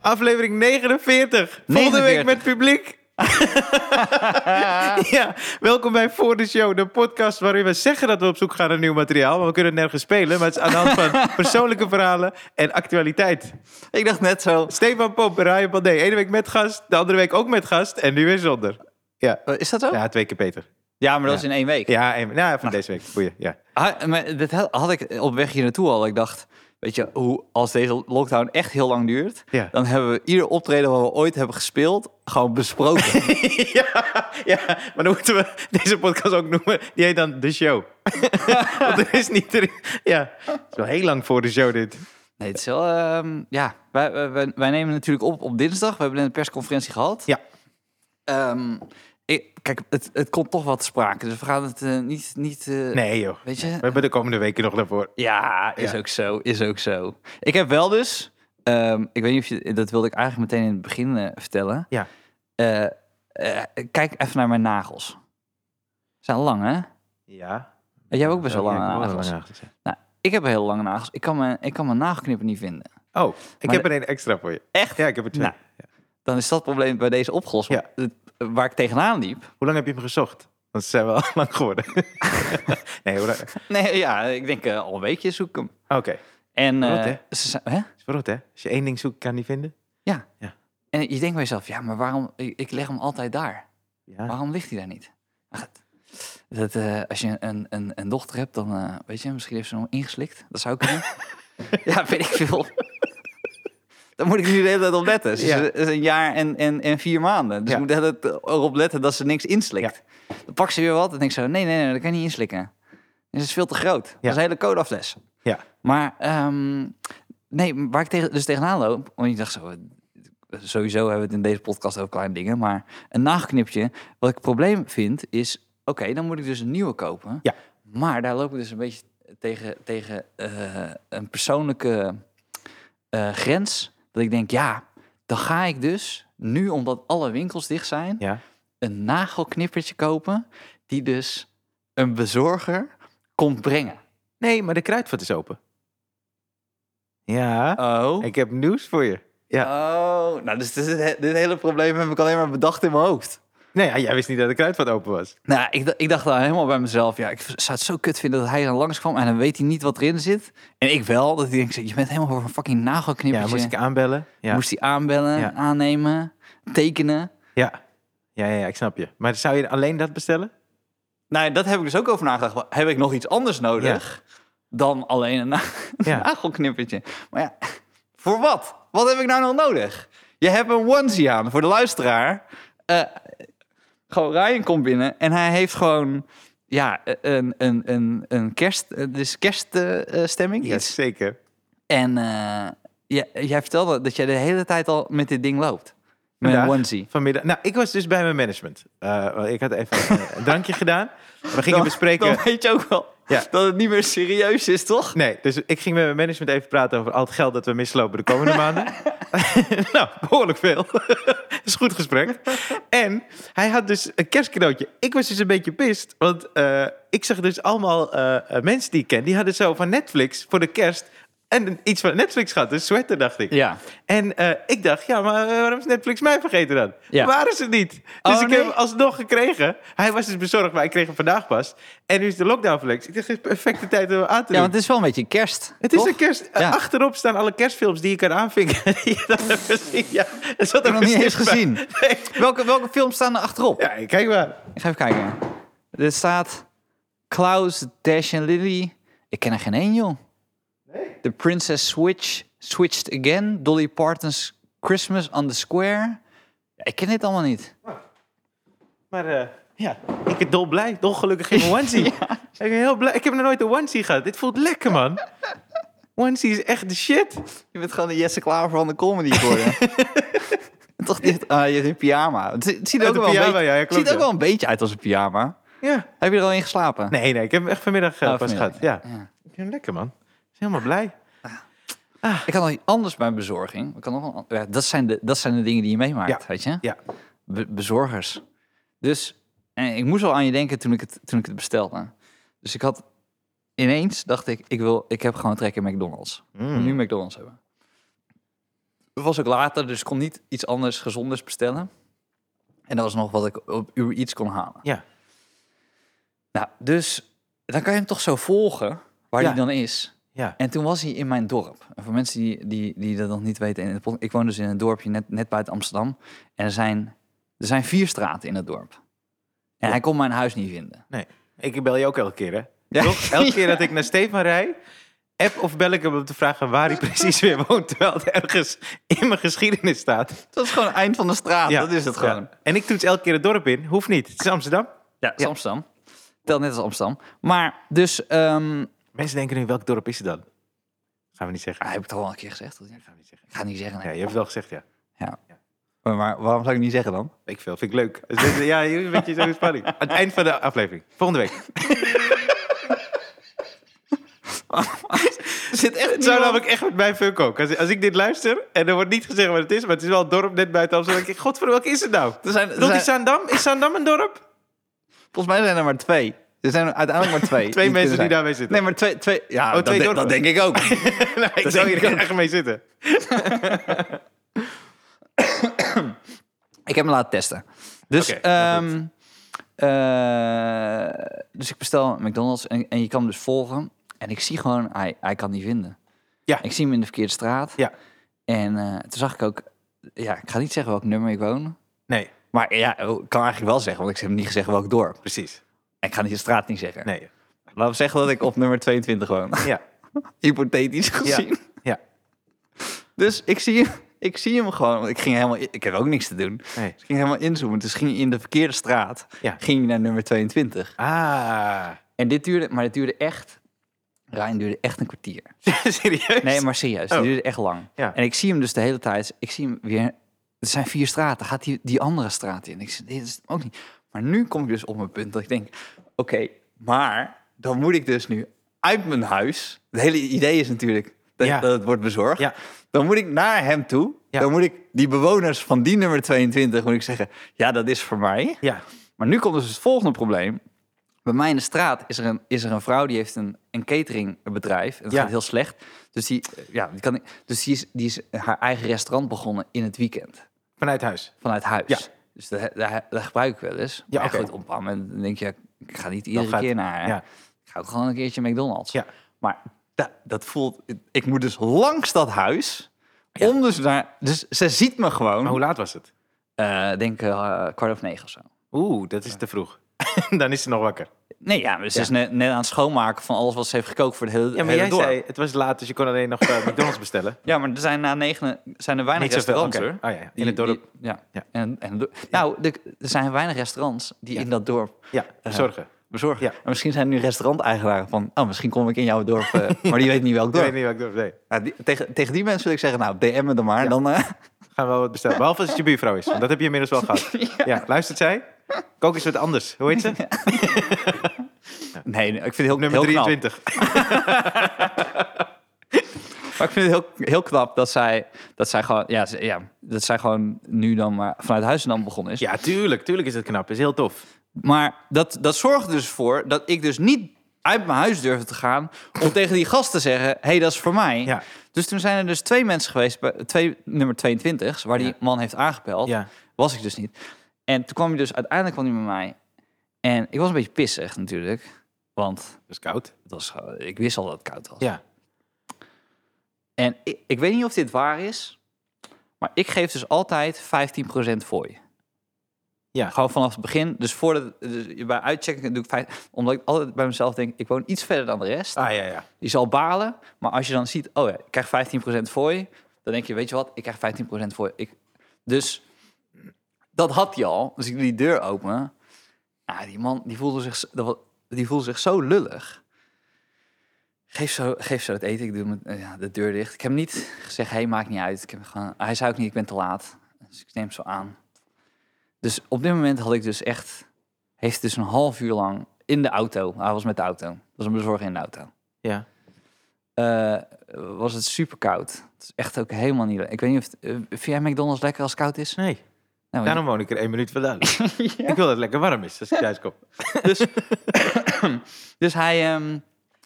Aflevering 49. Volgende 49. week met publiek. ja, welkom bij Voor de Show, de podcast waarin we zeggen dat we op zoek gaan naar nieuw materiaal. Maar we kunnen het nergens spelen, maar het is aan de hand van persoonlijke verhalen en actualiteit. Ik dacht net zo. Stefan Pop en Ryan Pandé. Ene week met gast, de andere week ook met gast en nu weer zonder. Ja, Eh, Is dat zo? Ja, ja twee keer Peter. maar dat is in één week. Ja, en, nou, van deze week. Boeien, ja. Ah, maar dat had had ik op weg hier naartoe al. Ik dacht, weet je, hoe, als deze lockdown echt heel lang duurt, Ja. dan hebben we ieder optreden wat we ooit hebben gespeeld gewoon besproken. Ja, ja, maar dan moeten we deze podcast ook noemen. Die heet dan De Show. Want er is niet... Er, ja, het is wel heel lang voor de show dit. nee, het is wel, ehm, ja, wij, wij- wij, wij nemen natuurlijk op op dinsdag. We hebben net een persconferentie gehad. Ja. Ehm, ik, kijk, het, het komt toch wat te sprake, dus we gaan het eh, niet, niet eh, Nee joh, weet we je, hebben de komende weken nog daarvoor. Ja, is Ja. ook zo, is ook zo. Ik heb wel dus, ehm, ik weet niet of je, dat wilde ik eigenlijk meteen in het begin eh, vertellen. Ja. Eh, eh, kijk even naar mijn nagels. Ze zijn lang, hè? Ja. Jij hebt ook best wel Ja, lange ik heb wel nagels. lange nagels, ja. Nou, ik heb hele lange nagels. Ik kan mijn, ik kan mijn nagelknipper niet vinden. Oh, ik Maar heb er één extra voor je. Echt? Ja, ik heb er twee. Nou. Dan is dat probleem bij deze opgelost. Ja. Het- Waar ik tegenaan liep. Hoe lang heb je hem gezocht? Want ze zijn wel lang geworden. nee, hoe lang? Nee, ja, ik denk eh, al een weekje zoek ik hem. Oké, En, eh, Rot, hè? ze zijn- hè? is wel goed hè? Als je één ding zoekt, kan je die vinden. en je denkt bij jezelf, ja, maar waarom? Ik ik leg hem altijd daar. Ja. Waarom ligt hij daar niet? Maar goed. Dat, eh, als je een, een, een dochter hebt, dan eh, weet je, misschien heeft ze hem ingeslikt. Dat zou kunnen. ja, weet ik veel. Daar moet ik nu de hele tijd op letten. Ze is- Ja. ze is een jaar en, en, en vier maanden. Dus Ja. ik moet de hele tijd erop letten dat ze niks inslikt. Dan pakt ze weer wat en denk zo, nee, nee, nee, dat kan je niet inslikken. Dus het is veel te groot. Dat is een hele codeafles. Ja. Maar ehm, nee, waar ik tegen, dus tegenaan loop, want je dacht zo, eh, sowieso hebben we het in deze podcast over kleine dingen, maar een nagelknipje, wat ik het probleem vind, is, oké, dan moet ik dus een nieuwe kopen. Ja. Maar daar loop ik dus een beetje tegen, tegen eh, een persoonlijke eh, grens, dat ik denk, ja, dan ga ik dus nu, omdat alle winkels dicht zijn, Ja. een nagelknippertje kopen, die dus een bezorger komt brengen. Nee, maar de kruidvat is open. Ja. Oh. Ik heb nieuws voor je. Ja. Oh, nou, dus dit, is- dit hele probleem heb ik alleen maar bedacht in mijn hoofd. Nee, ja, jij wist niet dat de kruidvat open was. Nou, ik, d- ik dacht dan helemaal bij mezelf, ja, ik zou het zo kut vinden dat hij dan langskwam en dan weet hij niet wat erin zit. En ik wel, dat ik denk, je bent helemaal voor een fucking Ja, nagelknippertje. moest ik aanbellen. Ja. Moest hij aanbellen, Ja. aannemen, tekenen. Ja. Ja, ja, ja, ik snap je. Maar zou je alleen dat bestellen? Nou, dat heb ik dus ook over nagedacht. Heb ik nog iets anders nodig dan alleen een, na- een Ja. nagelknippertje? Maar ja, voor wat? Wat heb ik nou nog nodig? Je hebt een onesie aan voor de luisteraar. Eh, gewoon Ryan komt binnen en hij heeft gewoon ja, e- een, een, een, een kerst, eh, dus kerststemming. Ja, zeker. En eh, jij- jij vertelde dat jij de hele tijd al met dit ding loopt. Met een Vandaag, onesie. Vanmiddag. Nou, ik was dus bij mijn management. Eh, want ik had even eh, een drankje gedaan. We gingen bespreken. Dan weet je ook wel Ja. dat het niet meer serieus is, toch? Nee, dus ik ging met mijn management even praten over al het geld dat we mislopen de komende maanden. nou, behoorlijk veel. is goed gesprek. En hij had dus een kerstcadeautje. Ik was dus een beetje pist, want eh, ik zag dus allemaal eh, eh, mensen die ik ken, die hadden zo van Netflix voor de kerst en een- iets van Netflix gehad, dus sweater dacht ik. Ja. En eh, ik dacht, ja, maar eh, waarom is Netflix mij vergeten dan? Ja. Waren ze niet? Dus Oh, ik nee. heb hem alsnog gekregen. Hij was dus bezorgd, maar ik kreeg hem vandaag pas. En nu is de lockdown flex. Ik dacht, dit is perfecte tijd om hem aan te Ja, doen. want het is wel een beetje kerst. Het is toch? een kerst. eh, Ja. Achterop staan alle kerstfilms die je kan aanvinken. die je dan hebt gezien. Ja, er zat heb ook nog niet een eens stip gezien. bij. Nee. Welke, welke films staan er achterop? Ja, kijk maar. Ik ga even kijken. Er staat Klaus, Dash en Lily. Ik ken er geen één, joh. The Princess Switch, Switched Again, Dolly Parton's Christmas on the Square. Ja, ik ken dit allemaal niet. Maar eh, ja, ik ben dolblij. Dolgelukkig in mijn onesie. Ik ben heel blij. Ik heb nog nooit een onesie gehad. Dit voelt lekker, man. Onesie is echt de shit. Je bent gewoon de Jesse Klaver van de comedy geworden. Toch dit? Ah, je hebt een pyjama. Het, het ziet, er Oh, ook de wel een pyjama, beetje, ja, ja, het klopt, ziet ook ja. wel een beetje uit als een pyjama. Ja. Heb je er al in geslapen? Nee, nee, ik heb hem echt vanmiddag eh, Oh, pas vanmiddag, gehad. Ja. ja. Ik ben lekker, man. Ik ben helemaal blij. Ik had nog iets anders bij bezorging. Ik had nog een, ja, dat, zijn de, dat zijn de dingen die je meemaakt, Ja, weet je? ja. Be- bezorgers. Dus en ik moest al aan je denken toen ik, het, toen ik het bestelde. Dus ik had ineens, dacht ik, ik, wil, ik heb gewoon trek in McDonald's. Mm. Nu McDonald's hebben. was ook later, dus ik kon niet iets anders gezonders bestellen. En dat was nog wat ik op uur iets kon halen. Ja. Nou, dus dan kan je hem toch zo volgen waar Ja. hij dan is. Ja. En toen was hij in mijn dorp. En voor mensen die, die, die dat nog niet weten, in het, ik woon dus in een dorpje net, net buiten Amsterdam. En er zijn, er zijn vier straten in het dorp. En hij kon mijn huis niet vinden. Nee. Ik bel je ook elke keer, hè? Ja. Toch? Elke keer dat ik naar Stefan rij, app of bel ik hem om te vragen waar hij precies weer woont. Terwijl het ergens in mijn geschiedenis staat. Dat is gewoon eind van de straat, Ah, dat is het Ja. gewoon. En ik toets elke keer het dorp in. Hoeft niet. Het is Amsterdam. Ja, het is Amsterdam. Telt net als Amsterdam. Maar dus, ehm Mensen denken nu, welk dorp is het dan? Gaan we niet zeggen. ah, heb ik het al wel een keer gezegd? Ik Gaan we niet zeggen. ga het niet zeggen. nee. Ja, je hebt het wel gezegd, ja. Maar, maar waarom zou ik niet zeggen dan? Ik veel, vind ik leuk. Dus dit- Ja, een beetje zo'n spanning. Aan het eind van de aflevering. Volgende week. Er zit echt Het zou namelijk echt met mij funk ook. Als, als ik dit luister en er wordt niet gezegd wat het is, maar het is wel een dorp net buiten Amsterdam. Dan denk ik, godver, welk is het nou? Er zijn, er Bedoelt zijn, is Zaandam? Is Zaandam een dorp? volgens mij zijn er maar twee. Er zijn er uiteindelijk maar twee. Twee het mensen die kunnen zijn. daarmee zitten. Nee, maar twee... twee ja, Oh, dat, twee de- dorpen. dat denk ik ook. nou, ik Dat zou denk hier ik ook. echt mee zitten. ik heb hem laten testen. Dus, Oké, nou heel ehm, eh, dus ik bestel McDonald's en, en je kan hem dus volgen. En ik zie gewoon, hij, hij kan niet vinden. Ja. Ik zie hem in de verkeerde straat. Ja. En eh, toen zag ik ook... Ja, ik ga niet zeggen welk nummer ik woon. Nee, Maar ja, ik kan eigenlijk wel zeggen, want ik heb niet gezegd welk dorp. precies. Ik ga niet de straat niet zeggen. Nee. Laten we zeggen dat ik op nummer 22 woon. Ja. Hypothetisch gezien. Ja. Dus ik zie, ik zie hem gewoon. want Ik ging helemaal. in- Ik heb ook niks te doen. Dus Nee. ik ging helemaal inzoomen. Dus ging je in de verkeerde straat. Ja. Ging je naar nummer 22. Ah. En dit duurde. Maar dit duurde echt. Ryan duurde echt een kwartier. Serieus? Nee, maar serieus. Oh. Dit duurde echt lang. Ja. En ik zie hem dus de hele tijd. Ik zie hem weer. Er zijn vier straten. Gaat die, die andere straat in? Ik zeg, dit is het ook niet. Maar nu kom ik dus op mijn punt dat ik denk: oké, maar dan moet ik dus nu uit mijn huis. Het hele idee is natuurlijk dat, Ja. dat het wordt bezorgd. Ja. Dan moet ik naar hem toe. Ja. Dan moet ik die bewoners van die nummer 22 moet ik zeggen: ja, dat is voor mij. Ja. Maar nu komt dus het volgende probleem. Bij mij in de straat is er een, is er een vrouw die heeft een, een cateringbedrijf. En dat Ja. gaat heel slecht. Dus, die, eh, ja, die kan, niet- dus die, is, die is haar eigen restaurant begonnen in het weekend. Vanuit huis. Vanuit huis. Ja. Dus dat, dat, dat gebruik ik wel eens. Ja, Maar oké. goed, op een bepaald moment denk je... Ik ga niet iedere gaat- keer naar haar. ja. Ik ga ook gewoon een keertje McDonald's. Ja. Maar da- dat voelt... Ik moet dus langs dat huis... Om dus naar... Dus ze ziet me gewoon. Maar hoe laat was het? eh, denk eh, kwart of negen of zo. Oeh, dat is te vroeg. Dan is ze nog wakker. Nee, ja, maar ze is net, net aan het schoonmaken van alles wat ze heeft gekookt voor het hele, Ja, maar hele jij dorp. zei, het was laat, dus je kon alleen nog eh, McDonald's bestellen. Ja, maar er zijn na negen zijn er weinig Niet zoveel. restaurants, oké. hoor. Ah, ja. Die- In het dorp. die- ja. Ja. En, en, do- nou, de- er zijn weinig restaurants die in dat dorp Ja, Eh, zorgen. bezorgen. Ja. En misschien zijn er nu restauranteigenaren van, oh, misschien kom ik in jouw dorp, eh, maar die weet niet welk Ik dorp. weet niet wat ik doe. Nee. Nou, die- tegen, tegen die mensen wil ik zeggen, nou, DM me dan maar. Dan, eh, Gaan we wel wat bestellen. Behalve als het je buurvrouw is. Want dat heb je inmiddels wel gehad. Ja, luistert zij? Kook eens wat anders. Hoe heet ze? nee, nee, ik vind het heel, Nummer heel knap. 23. Maar ik vind het heel, heel knap dat zij, dat, zij gewoon, ja, ze- ja, dat zij gewoon nu dan maar vanuit huis dan begonnen is. Ja, tuurlijk. Tuurlijk is het knap. is heel tof. Maar dat, dat zorgde dus voor dat ik dus niet uit mijn huis durfde te gaan om tegen die gast te zeggen, hé, hey, dat is voor mij. Ja. Dus toen zijn er dus twee mensen geweest, bij, twee, nummer 22, waar die Ja. man heeft aangebeld. Ja. Was ik dus niet. En toen kwam hij dus, uiteindelijk kwam hij bij mij. En ik was een beetje pissig natuurlijk, want Dat is koud. het was, gewoon- ik wist al dat het koud was. Ja. En ik, ik weet niet of dit waar is, maar ik geef dus altijd 15% fooi. Ja. Gewoon vanaf het begin. Dus voordat dus je bij uitchecken doe ik vijf, omdat ik altijd bij mezelf denk, ik woon iets verder dan de rest. Ah, ja, ja. Die zal balen, maar als je dan ziet, oh ja, ik krijg 15% fooi, dan denk je, weet je wat, ik krijg 15% fooi. Ik, dus dat had hij al. Dus ik doe die deur open. Nou, die man, die voelde zich, z- dat wa- die voelde zich zo lullig. Geef zo, geef zo het eten. Ik doe mijn- eh, ja, de deur dicht. Ik heb hem niet gezegd, hey, maakt niet uit. Ik heb gewoon, hij zei ook niet, ik ben te laat. Dus ik neem het zo aan. Dus op dit moment had ik dus echt... Heeft dus een half uur lang in de auto... Hij was met de auto. Dat was een bezorger in de auto. Ja. Eh, was het super koud. Het is echt ook helemaal niet... le- Ik weet niet of... het- eh, vind jij McDonald's lekker als het koud is? Nee. Nou, Daarom woon ik er één minuut vandaan. Ik wil dat het lekker warm is als ik thuis kom. Dus hij, ehm,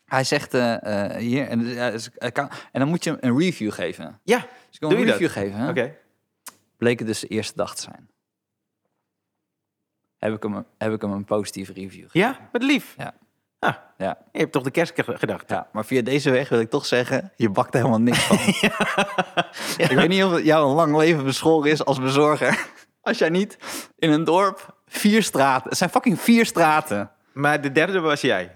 Hij zegt eh, eh, hier, en, eh, is- eh, kan- en dan moet je hem een review geven. Ja, Dus ik wil Doe een je dat? review geven. hè? oké. Bleek het dus de eerste dag te zijn. Heb ik hem, een- heb ik hem een positieve review gegeven. Ja, wat lief. Ja. Ah, Ja. je hebt toch de kerst ge- gedacht. Ja, maar via deze weg wil ik toch zeggen, je bakt er helemaal niks van. Ik weet niet of het jou een lang leven beschoren is als bezorger. Als jij niet in een dorp vier straten... Het zijn fucking vier straten. Maar de derde was jij.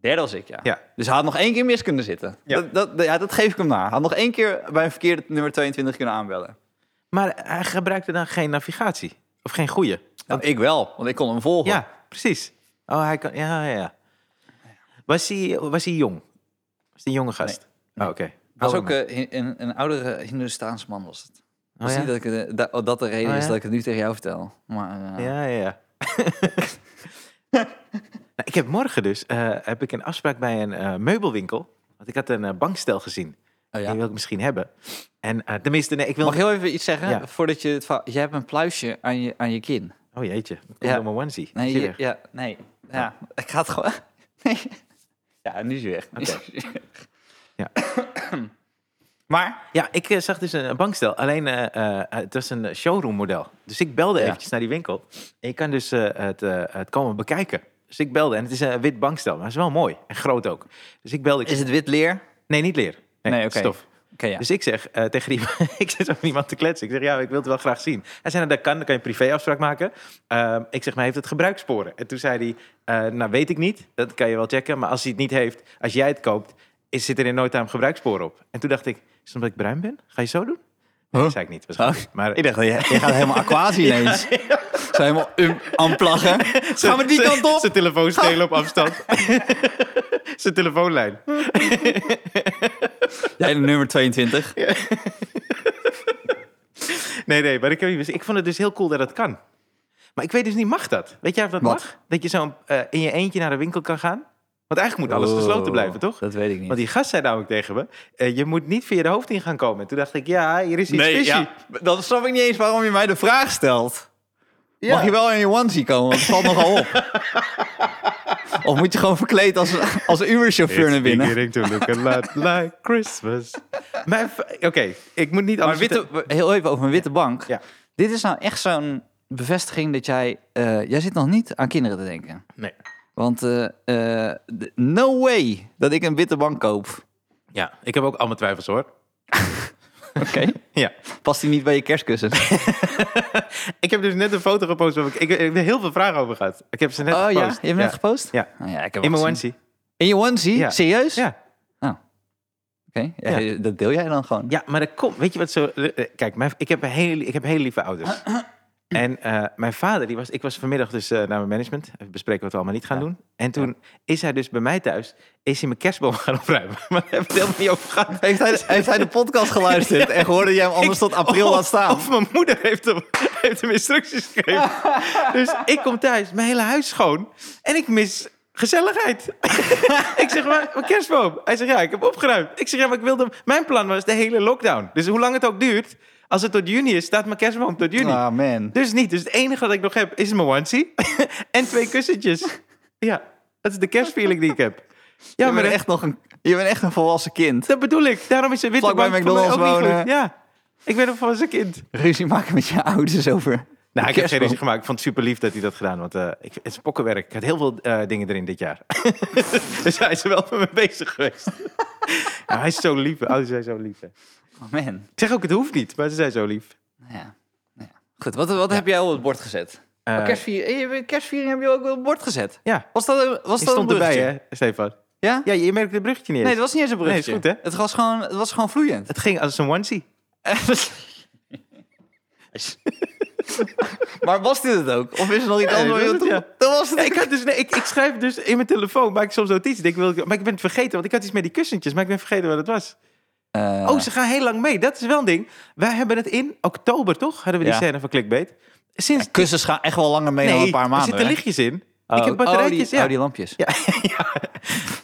Derde was ik, ja. Ja. Dus hij had nog één keer mis kunnen zitten. Ja. Dat, dat, ja, dat geef ik hem na. Hij had nog één keer bij een verkeerde nummer 22 kunnen aanbellen. Maar hij gebruikte dan geen navigatie. Of geen goede. Nou, ik wel, want ik kon hem volgen. Ja, precies. Oh, hij kan... Ja, ja, ja. Was hij, was hij jong? Was hij een jonge gast? Oh, oké. was Oude ook man. eh, hi- een, een oudere Hindoestaans man was het. Ik Oh, wist ja? niet dat, ik, het, eh, da- oh, dat de reden Oh, is ja? dat ik het nu tegen jou vertel. Maar eh, Ja, ja, ja. nou, ik heb morgen dus eh, heb ik een afspraak bij een eh, meubelwinkel. Want ik had een eh, bankstel gezien. oh ja. Die wil ik misschien hebben. En eh, tenminste, nee, ik wil... Mag ik heel even iets zeggen? Ja. Voordat je het verhaal- Jij hebt een pluisje aan je, aan je kin. Oh jeetje, dat komt Ja. door mijn onesie. Nee, Zie je- je? ja, nee. Ja, ik ga het gewoon... Nee. Ja, nu is je weg. Nu is je weg. Ja. maar, Ja, ik eh, zag dus een bankstel. Alleen eh, eh, het was een showroom model. Dus ik belde Ja. eventjes naar die winkel. En je kan dus eh, het, eh, het komen bekijken. Dus ik belde. En het is een wit bankstel. Maar het is wel mooi. En groot ook. Dus ik belde. Ik is het wit leer? Oké, Nee, niet leer. Nee, Nee, nee oké. stof. ja. Dus ik zeg eh, tegen die ik zit zo met iemand te kletsen. Ik zeg, ja, ik wil het wel graag zien. Hij zei, nou, dat kan, dan kan je een privéafspraak maken. Ehm, ik zeg, maar heeft het gebruikssporen? En toen zei hij, eh, nou, weet ik niet. Dat kan je wel checken. Maar als hij het niet heeft, als jij het koopt, is, zit er in no time gebruikssporen op. En toen dacht ik, is het omdat ik bruin ben? Ga je zo doen? Nee, Huh? Dat zei ik niet, waarschijnlijk. Maar Ik dacht, je, je gaat helemaal aquasi ineens. Zou helemaal um, aanplaggen. Gaan we die kant op? Zijn telefoon stelen op afstand. zijn telefoonlijn. Jij de nummer 22. Nee, nee, maar ik, heb, ik vond het dus heel cool dat dat kan. Maar ik weet dus niet, mag dat? Weet jij of dat Wat? mag? Dat je zo eh, in je eentje naar de winkel kan gaan? Want eigenlijk moet alles gesloten blijven, toch? Oh. Dat weet ik Want niet. die gast zei namelijk tegen me, eh, je moet niet via de hoofd in gaan komen. En toen dacht ik, ja, hier is iets Nee, fishy. ja, dan snap ik niet eens waarom je mij de vraag stelt. Ja. Mag je wel in je onesie komen? Want het valt nogal op. of moet je gewoon verkleed als, als Uber-chauffeur naar binnen? to look a lot like Christmas. Maar v- Oké, ik moet niet Maar anders... witte, heel even over een witte bank. Ja. Dit is nou echt zo'n bevestiging dat jij... eh, jij zit nog niet aan kinderen te denken. Nee. Want eh, eh, d- no way dat ik een witte bank koop. Ja, ik heb ook allemaal twijfels hoor. Oké. Ja. Past die niet bij je kerstkussen? Ik heb dus net een foto gepost waar ik, ik, ik heb er heel veel vragen over gehad. Ik heb ze net oh ja, je gepost. hebt hem net gepost? Ja. Oh, ja ik heb In hem mijn onesie. gezien. In je onesie? Ja. Serieus? Ja. Oh. Oké, Ja, Ja. dat deel jij dan gewoon? Ja, maar dat komt. Weet je wat zo. eh, eh, Kijk, mijn, ik, heb een hele, ik heb hele lieve ouders. En eh, mijn vader, die was, ik was vanmiddag dus eh, naar mijn management. Even bespreken wat we allemaal niet gaan Ja. doen. En toen is hij dus bij mij thuis. Is hij mijn kerstboom gaan opruimen. Maar daar hebben we het helemaal niet over gehad. Heeft hij, heeft hij de podcast geluisterd en gehoord dat jij hem anders tot april Of- laat staan? Of mijn moeder heeft hem, heeft hem instructies gegeven. dus ik kom thuis, mijn hele huis schoon. En ik mis gezelligheid. ik zeg, maar, mijn kerstboom. Hij zegt, ja, ik heb opgeruimd. Ik zeg, ja, maar ik wilde... hem- Mijn plan was de hele lockdown. Dus hoe lang het ook duurt... Als het tot juni is, staat mijn kerstboom tot juni. Ah, man. Dus niet. Dus het enige wat ik nog heb is mijn onesie en twee kussentjes. Ja, dat is de kerstfeeling die ik heb. Ja, je, maar bent dat, echt nog een, je bent echt een volwassen kind. dat bedoel ik. Daarom is een witte Vlakbij bank voor mij McDonald's ook niet wonen. goed. Ja, ik ben een volwassen kind. Ruzie maken met je ouders over. Nou, de ik heb geen kerstboom. ruzie gemaakt. Ik vond het super lief dat hij dat gedaan. Want eh, ik, het is pokkenwerk. Ik had heel veel eh, dingen erin dit jaar. dus hij is er wel mee bezig geweest. Ja, hij is zo lief. Oh, ze zijn zo lief. hè. Oh, man. Ik zeg ook, het hoeft niet. Maar ze zijn zo lief. Nou Ja. Nou ja. Goed, wat, wat heb jij op het bord gezet? Eh, Oh, kerstvier, je bent- kerstviering heb je ook op het bord gezet. ja, Was dat, een- was je dat stond een erbij, bruggetje? hè, Stefan? Ja? Ja, je merkt het bruggetje niet Nee, eens. het was niet eens Nee, een bruggetje. is goed, hè? Het was gewoon, het was gewoon vloeiend. Het ging als een onesie. maar was dit het ook? Of is er nog iets Ja, anders? dat waar was je- het, Dat was het. Ja, ik, had dus, nee, ik, ik schrijf dus in mijn telefoon, maak ik soms notities. Denk, ik, wil ik, maar ik ben het vergeten, want ik had iets met die kussentjes, maar ik ben vergeten wat het was. Eh, Oh, ze gaan heel lang mee. Dat is wel een ding. Wij hebben het in oktober, toch? Hadden we die Ja. scène van Clickbait. Sinds Kussens gaan echt wel langer mee dan een paar er maanden. zitten hè? lichtjes in. Oh, ik heb batterijtjes, oh, die, ja. oh, die lampjes. Ja, ja.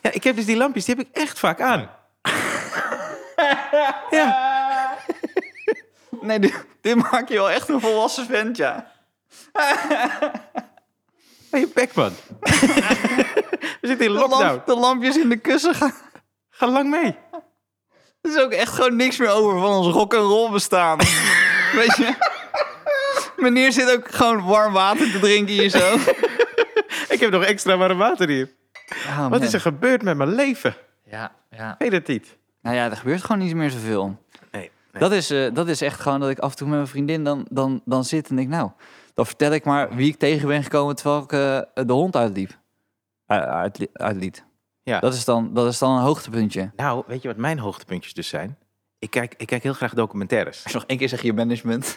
ja, ik heb dus die lampjes, die heb ik echt vaak aan. ja. Nee, dit, dit maakt je wel echt een volwassen vent, ja. Ben je bek, man. we zitten zitten in De, lamp- lockdown. de lampjes in de kussen gaan. Ga lang mee. Er is ook echt gewoon niks meer over van ons rock en roll bestaan. Weet je? Meneer zit ook gewoon warm water te drinken hier zo. Ik heb nog extra warm water hier. Wat is er gebeurd met mijn leven? Ah, Ja, ja. Weet het niet. Nou ja, er gebeurt gewoon niet meer zoveel. Nee. Dat is, eh, dat is echt gewoon dat ik af en toe met mijn vriendin dan, dan, dan zit en denk, nou, dan vertel ik maar wie ik tegen ben gekomen terwijl ik eh, de hond uitliep. Eh, uitli- uitliet. Ja. Dat, is dan, dat is dan een hoogtepuntje. Nou, weet je wat mijn hoogtepuntjes dus zijn? Ik kijk, ik kijk heel graag documentaires. Als je nog één keer zeg je management.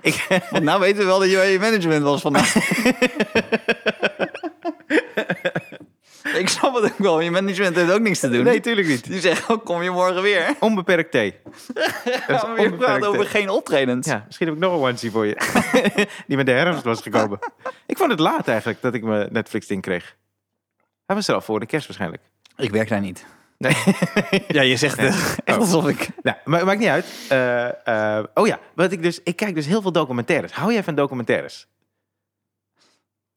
Ik, Want nou weten we wel dat je bij je management was vandaag. ik snap het ook wel, je management heeft ook niks te doen. nee, tuurlijk niet. Die zegt, oh, kom je morgen weer? Onbeperkt thee. Dat Gaan we weer praten over geen optredens. Ja, misschien heb ik nog een onesie voor je. Die met de herfst was gekomen. Ik vond het laat eigenlijk dat ik mijn Netflix ding kreeg. Hij was er al voor de kerst waarschijnlijk. Ik werk daar niet. Nee. Ja, je zegt het echt alsof ik... Nou, maar maakt niet uit. Eh, eh, oh ja, wat ik dus, ik kijk dus heel veel documentaires. Hou jij van documentaires?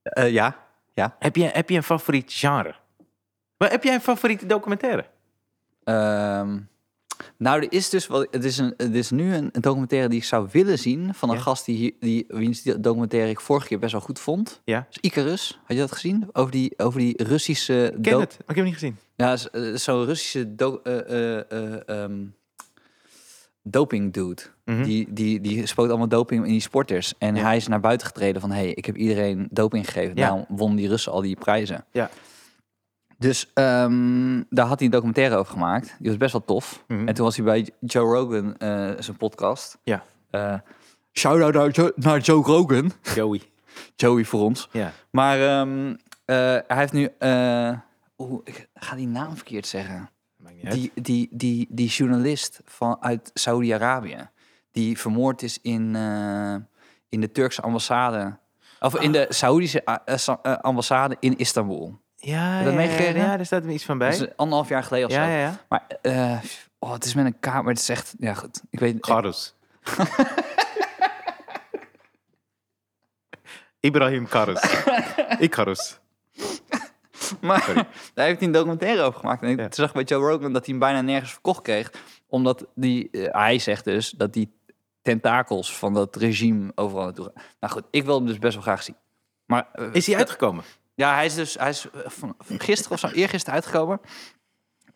Eh, ja. Ja. Heb je, heb je een favoriet genre? Maar heb jij een favoriete documentaire? Ehm, nou, er is dus wat, het, is een, het is nu een documentaire die ik zou willen zien van een Ja. gast die, hier- die wiens die documentaire ik vorige keer best wel goed vond. Ja. Dus Icarus, had je dat gezien? Over die, over die Russische Ik ken do- het, maar ik heb hem niet gezien. Ja, is, eh, zo'n Russische do- eh, eh, eh, ehm, doping dude. Mhm. Die, die, die spookt allemaal doping in die sporters. En hij is naar buiten getreden van... hé, hey, ik heb iedereen doping gegeven. Ja. Daarom wonnen die Russen al die prijzen. Ja. Dus ehm, daar had hij een documentaire over gemaakt. Die was best wel tof. Mhm. En toen was hij bij Joe Rogan, eh, zijn podcast. Ja. Eh, Shout-out naar, Jo- naar Joe Rogan. Joey. Joey voor ons. Ja. Maar ehm, eh, hij heeft nu... eh, Oeh, ik ga die naam verkeerd zeggen. Maakt niet uit. Die, die, die, die journalist van, uit Saudi-Arabië, die vermoord is in, eh, in de Turkse ambassade. Of in Ah. de Saoedische eh, eh, Sa- eh, ambassade in Istanbul. Ja, je dat ja, ja, meegekregen? ja, daar staat me iets van bij. Dat is anderhalf jaar geleden of ja, zo. ja, ja. Maar eh, oh, het is met een K, maar het is echt... Ja, goed. Ik weet Karus. Ibrahim Karus. Icarus. Maar Sorry. daar heeft hij een documentaire over gemaakt. En ik Ja. toen zag ik bij Joe Rogan dat hij hem bijna nergens verkocht kreeg. Omdat die, eh, hij zegt dus dat die tentakels van dat regime overal naartoe gaan. Nou goed, ik wil hem dus best wel graag zien. Maar, eh, Is hij uitgekomen? Ja, hij is dus hij is eh, van, van gisteren of zo, eergisteren uitgekomen.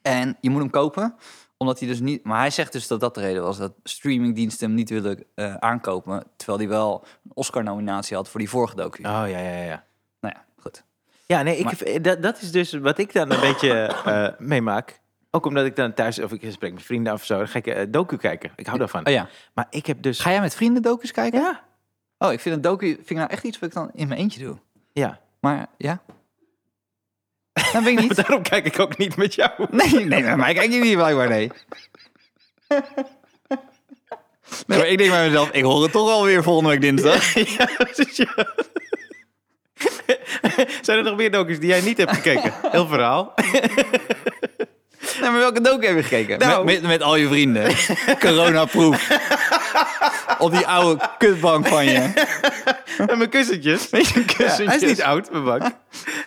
En je moet hem kopen, omdat hij dus niet... Maar hij zegt dus dat dat de reden was, dat streamingdiensten hem niet willen eh, aankopen. Terwijl hij wel een Oscar-nominatie had voor die vorige docu. Oh, ja, ja, ja. Nou ja, goed. Ja, nee, ik, Maar- eh, dat, dat is dus wat ik dan een beetje eh, meemaak. Ook omdat ik dan thuis, of ik spreek met vrienden af of zo, dan ga ik eh, docu kijken. Ik hou daarvan. Oh ja, Maar ik heb dus... ga jij met vrienden docus kijken? Ja. Oh, ik vind een docu vind ik nou echt iets wat ik dan in mijn eentje doe. Ja. Maar ja, dat ben ik niet. Daarom kijk ik ook niet met jou. Nee, nee, naar mij kijk je niet blijkbaar, nee. Nee, maar ik denk bij mezelf, ik hoor het toch alweer volgende week dinsdag. ja, precies, ja. Zijn er nog meer docus die jij niet hebt gekeken? Heel verhaal. Nee, maar welke docu heb je gekeken? Nou. Met, met, met al je vrienden. Coronaproof. Op die oude kutbank van je. Met mijn kussentjes. Eh. Ja, hij is niet oud, mijn bank.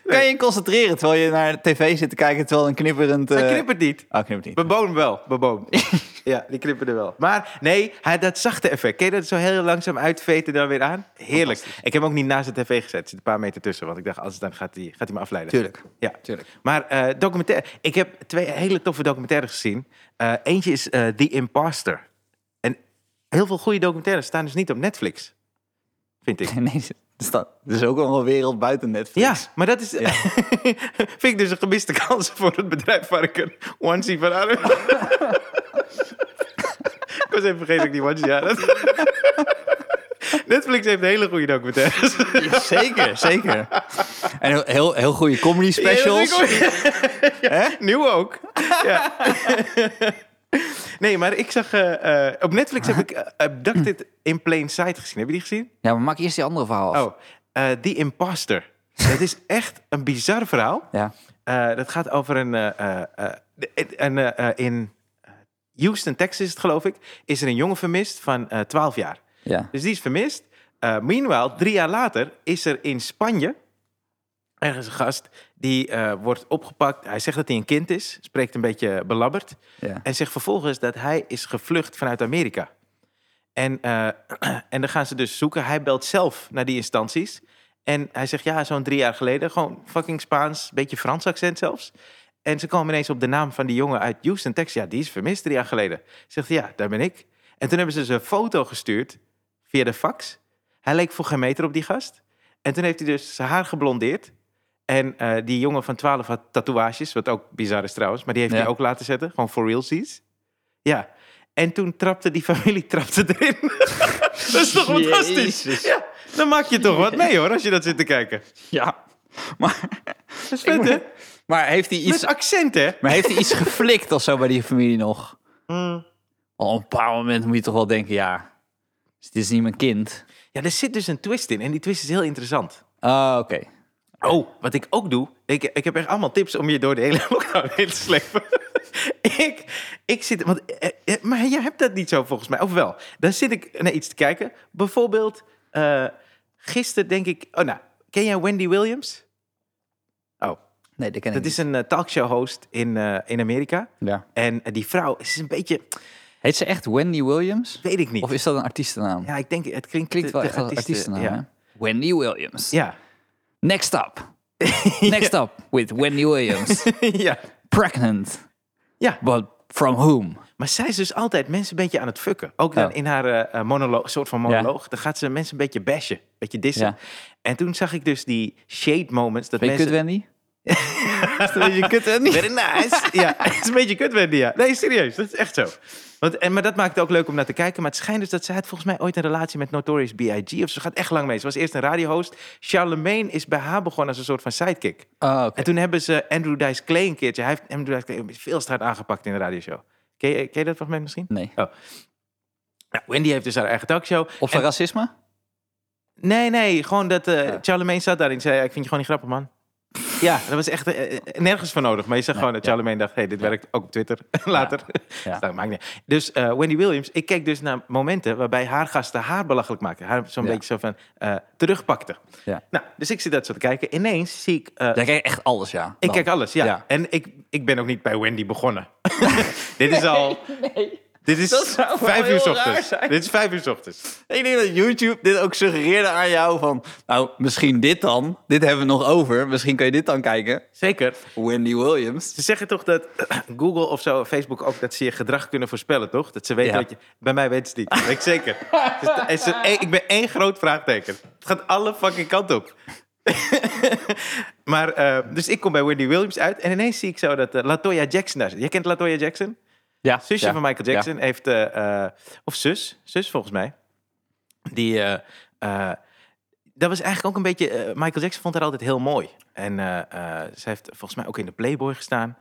Kan je je concentreren terwijl je naar de tv zit te kijken, terwijl een knipperend... eh, Hij knippert niet. Oh, knippert niet. Beboon wel, beboon. ja, die knipperde wel. Maar nee, hij, dat zachte effect. Ken je dat zo heel langzaam uitveten dan weer aan? Heerlijk. Ik heb hem ook niet naast de tv gezet. Er zit een paar meter tussen. Want ik dacht, als het dan gaat hij gaat hij me afleiden. Tuurlijk. Ja. Tuurlijk. Maar eh, documentaire. Ik heb twee hele toffe documentaires gezien. Eh, eentje is eh, The Imposter. En heel veel goede documentaires staan dus niet op Netflix. Vind ik. Nee, er staat- er is ook nog een wereld buiten Netflix. Ja, maar dat is. vind ik dus een gemiste kans voor het bedrijf waar ik een onesie van aan heb. ik was even vergeten dat ik die onesie aan had. Netflix heeft hele goede documentaires. Zeker, zeker. En heel- heel, heel goede comedy specials. Ja, nieuw ook. Ja. nee, maar ik zag. eh, eh, op Netflix heb ik eh, Abducted in Plain Sight gezien. Heb je die gezien? Ja, maar maak eerst die andere verhaal af. Oh, eh The Imposter. Dat is echt een bizar verhaal. Ja. Eh, dat gaat over een. eh, eh, eh, de- een eh, eh, in Houston, Texas, is het, geloof ik, is er een jongen vermist van eh 12 jaar. ja. Dus die is vermist. Eh meanwhile, drie jaar later is er in Spanje Ergens een gast die eh, wordt opgepakt. Hij zegt dat hij een kind is, spreekt een beetje belabberd. Ja. En zegt vervolgens dat hij is gevlucht vanuit Amerika. En, eh, en dan gaan ze dus zoeken. Hij belt zelf naar die instanties. En hij zegt, ja, zo'n drie jaar geleden. Gewoon fucking Spaans, beetje Frans accent zelfs. En ze komen ineens op de naam van die jongen uit Houston, Texas. Ja, die is vermist drie jaar geleden. Zegt hij, ja, daar ben ik. En toen hebben ze zijn foto gestuurd via de fax. Hij leek voor geen meter op die gast. En toen heeft hij dus zijn haar geblondeerd. En eh, die jongen van 12 had tatoeages, wat ook bizar is trouwens. Maar die heeft Ja. hij ook laten zetten, gewoon for realsies. Ja. En toen trapte die familie trapte erin. dat is toch fantastisch? Jezus. Ja, dan maak je toch wat mee hoor, als je dat zit te kijken. Ja. Maar, Dat is vet, hè? maar heeft hij iets Met accent, hè? Maar heeft hij iets geflikt of zo bij die familie nog? Al een paar moment moet je toch wel denken, ja, Dus dit is niet mijn kind. Ja, er zit dus een twist in. En die twist is heel interessant. Ah, oké. Oh, wat ik ook doe. Ik, ik heb echt allemaal tips om je door de hele lockdown heen te slepen. ik, ik zit. Want, eh, eh, maar je hebt dat niet zo volgens mij. Of wel? Dan zit ik naar iets te kijken. Bijvoorbeeld, eh gisteren denk ik. Oh, nou, ken jij Wendy Williams? Oh, Nee, dat ken ik dat is een eh, talkshow-host in, eh, in Amerika. niet. Ja. En eh, die vrouw is een beetje. Heet ze echt Wendy Williams? Weet ik niet. Of is dat een artiestennaam? Ja, ik denk, het klinkt, Klinkt te- wel te echt als een artiesten- artiestennaam, Ja. hè? Wendy Williams. Ja. Next up. Next up with Wendy Williams. ja. Pregnant. Ja. But from whom? Maar zij is dus altijd mensen een beetje aan het fucken. Ook dan Oh. in haar eh, eh, monoloog, soort van monoloog. Dan gaat ze mensen een beetje bashen, een beetje dissen. Ja. En toen zag ik dus die shade moments. Dat Ben je kut, mensen... Wendy? is dat je kut, Wendy? Very nice. ja, het is een beetje kut, Wendy. Ja. Nee, serieus, dat is echt zo. Want, en, maar dat maakt het ook leuk om naar te kijken. Maar het schijnt dus dat zij had volgens mij ooit een relatie met Notorious B.I.G. Of ze gaat echt lang mee. Ze was eerst een radiohost. Charlemagne is bij haar begonnen als een soort van sidekick. Ah, oké. En toen hebben ze Andrew Dice Clay een keertje. Hij heeft Andrew Dice Clay veel straat aangepakt in de radioshow. Ken je, ken je dat fragment misschien? Nee. Nou, Wendy heeft dus haar eigen talkshow. Oh. Of zijn racisme? Nee, nee, gewoon dat eh Charlemagne zat daarin. Zei, ik vind je gewoon niet grappig, man. Ja, dat was echt eh, eh, nergens voor nodig. Maar je zag gewoon dat Charlemagne dacht, hey, dit werkt ook op Twitter. Later. Ja. Dus dat maakt niet uit. Dus eh, Wendy Williams, ik keek dus naar momenten waarbij haar gasten haar belachelijk maakten. Haar zo'n Ja. beetje zo van eh, terugpakte. Ja. Nou, dus ik zit dat zo te kijken. Ineens zie ik... eh, Jij kijkt echt alles, ja. ik Dan. kijk alles, ja. Ja. En ik, ik ben ook niet bij Wendy begonnen. dit is al... Dit is Dat zou wel vijf heel uur 's raar ochtends. zijn. Dit is vijf uur 's ochtends. Ik denk dat YouTube dit ook suggereerde aan jou van... Nou, misschien dit dan. Dit hebben we nog over. Misschien kun je dit dan kijken. Zeker. Wendy Williams. Ze zeggen toch dat Google of zo, Facebook ook, dat ze je gedrag kunnen voorspellen, toch? Dat ze weten Ja. dat je... Bij mij weten ze het niet. Weet ik zeker. Het is- het is een- ik ben één groot vraagteken. Het gaat alle fucking kant op. maar, eh, dus ik kom bij Wendy Williams uit en ineens zie ik zo dat eh, Latoya Jackson daar zit. Jij kent Latoya Jackson? Ja. Zusje van Michael Jackson heeft, eh, eh, of zus, zus volgens mij, die, eh, eh, dat was eigenlijk ook een beetje, eh, Michael Jackson vond haar altijd heel mooi. En eh, eh, ze heeft volgens mij ook in de Playboy gestaan.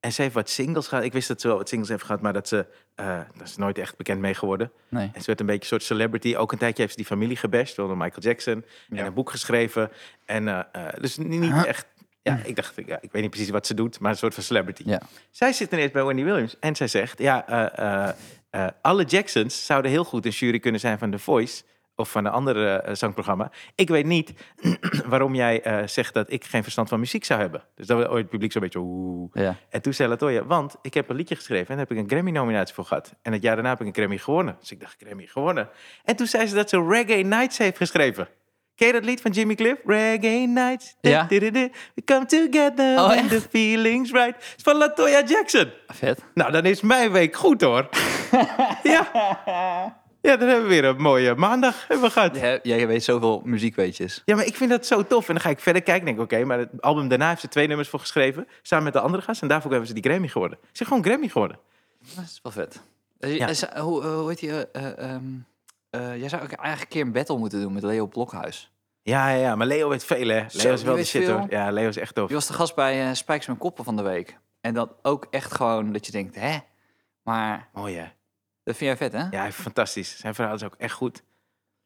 En ze heeft wat singles gehad. Ik wist dat ze wel wat singles heeft gehad, maar dat ze, eh daar is ze nooit echt bekend mee geworden. Nee. En ze werd een beetje een soort celebrity. Ook een tijdje heeft ze die familie gebashed, door Michael Jackson. En een boek geschreven. En eh, eh, dus niet niet echt, ja, ik dacht, ja, ik weet niet precies wat ze doet, maar een soort van celebrity. Ja. Zij zit ineens bij Wendy Williams en zij zegt: Ja, eh, eh, eh, alle Jacksons zouden heel goed een jury kunnen zijn van The Voice of van een andere eh, zangprogramma. Ik weet niet waarom jij eh, zegt dat ik geen verstand van muziek zou hebben. Dus dat we ooit het publiek zo'n beetje. Oeh. Ja. En toen zei Latoya, want ik heb een liedje geschreven en daar heb ik een Grammy-nominatie voor gehad. En het jaar daarna heb ik een Grammy gewonnen. Dus ik dacht, Grammy gewonnen. En toen zei ze dat ze Reggae Nights heeft geschreven. Ken je dat lied van Jimmy Cliff? Reggae Nights. Du- Ja. du- du- du. We come together Oh, when echt? the feelings right. Het is van Latoya Jackson. Vet. Nou, dan is mijn week goed hoor. ja. ja, dan hebben we weer een mooie maandag hebben we gehad. Jij, jij weet zoveel muziekweetjes. Ja, maar ik vind dat zo tof. En dan ga ik verder kijken en denk ik, oké, maar het album daarna heeft ze twee nummers voor geschreven. Samen met de andere gast. En daarvoor hebben ze die Grammy geworden. Ze zijn gewoon Grammy geworden. Dat is wel vet. Ja. hoe, eh, hoe heet die... eh, eh, ehm, eh, jij zou ook eigenlijk een keer een battle moeten doen met Leo Blokhuis. Ja, ja, ja, maar Leo weet veel, hè? Zo, Leo is wel die de weet shit, veel. hoor. Ja, Leo is echt tof. Die was de gast bij eh, Spijkers met Koppen van de week. En dat ook echt gewoon dat je denkt, hè? Maar Mooi, hè? dat vind jij vet, hè? Ja, hij is fantastisch. Zijn verhaal is ook echt goed.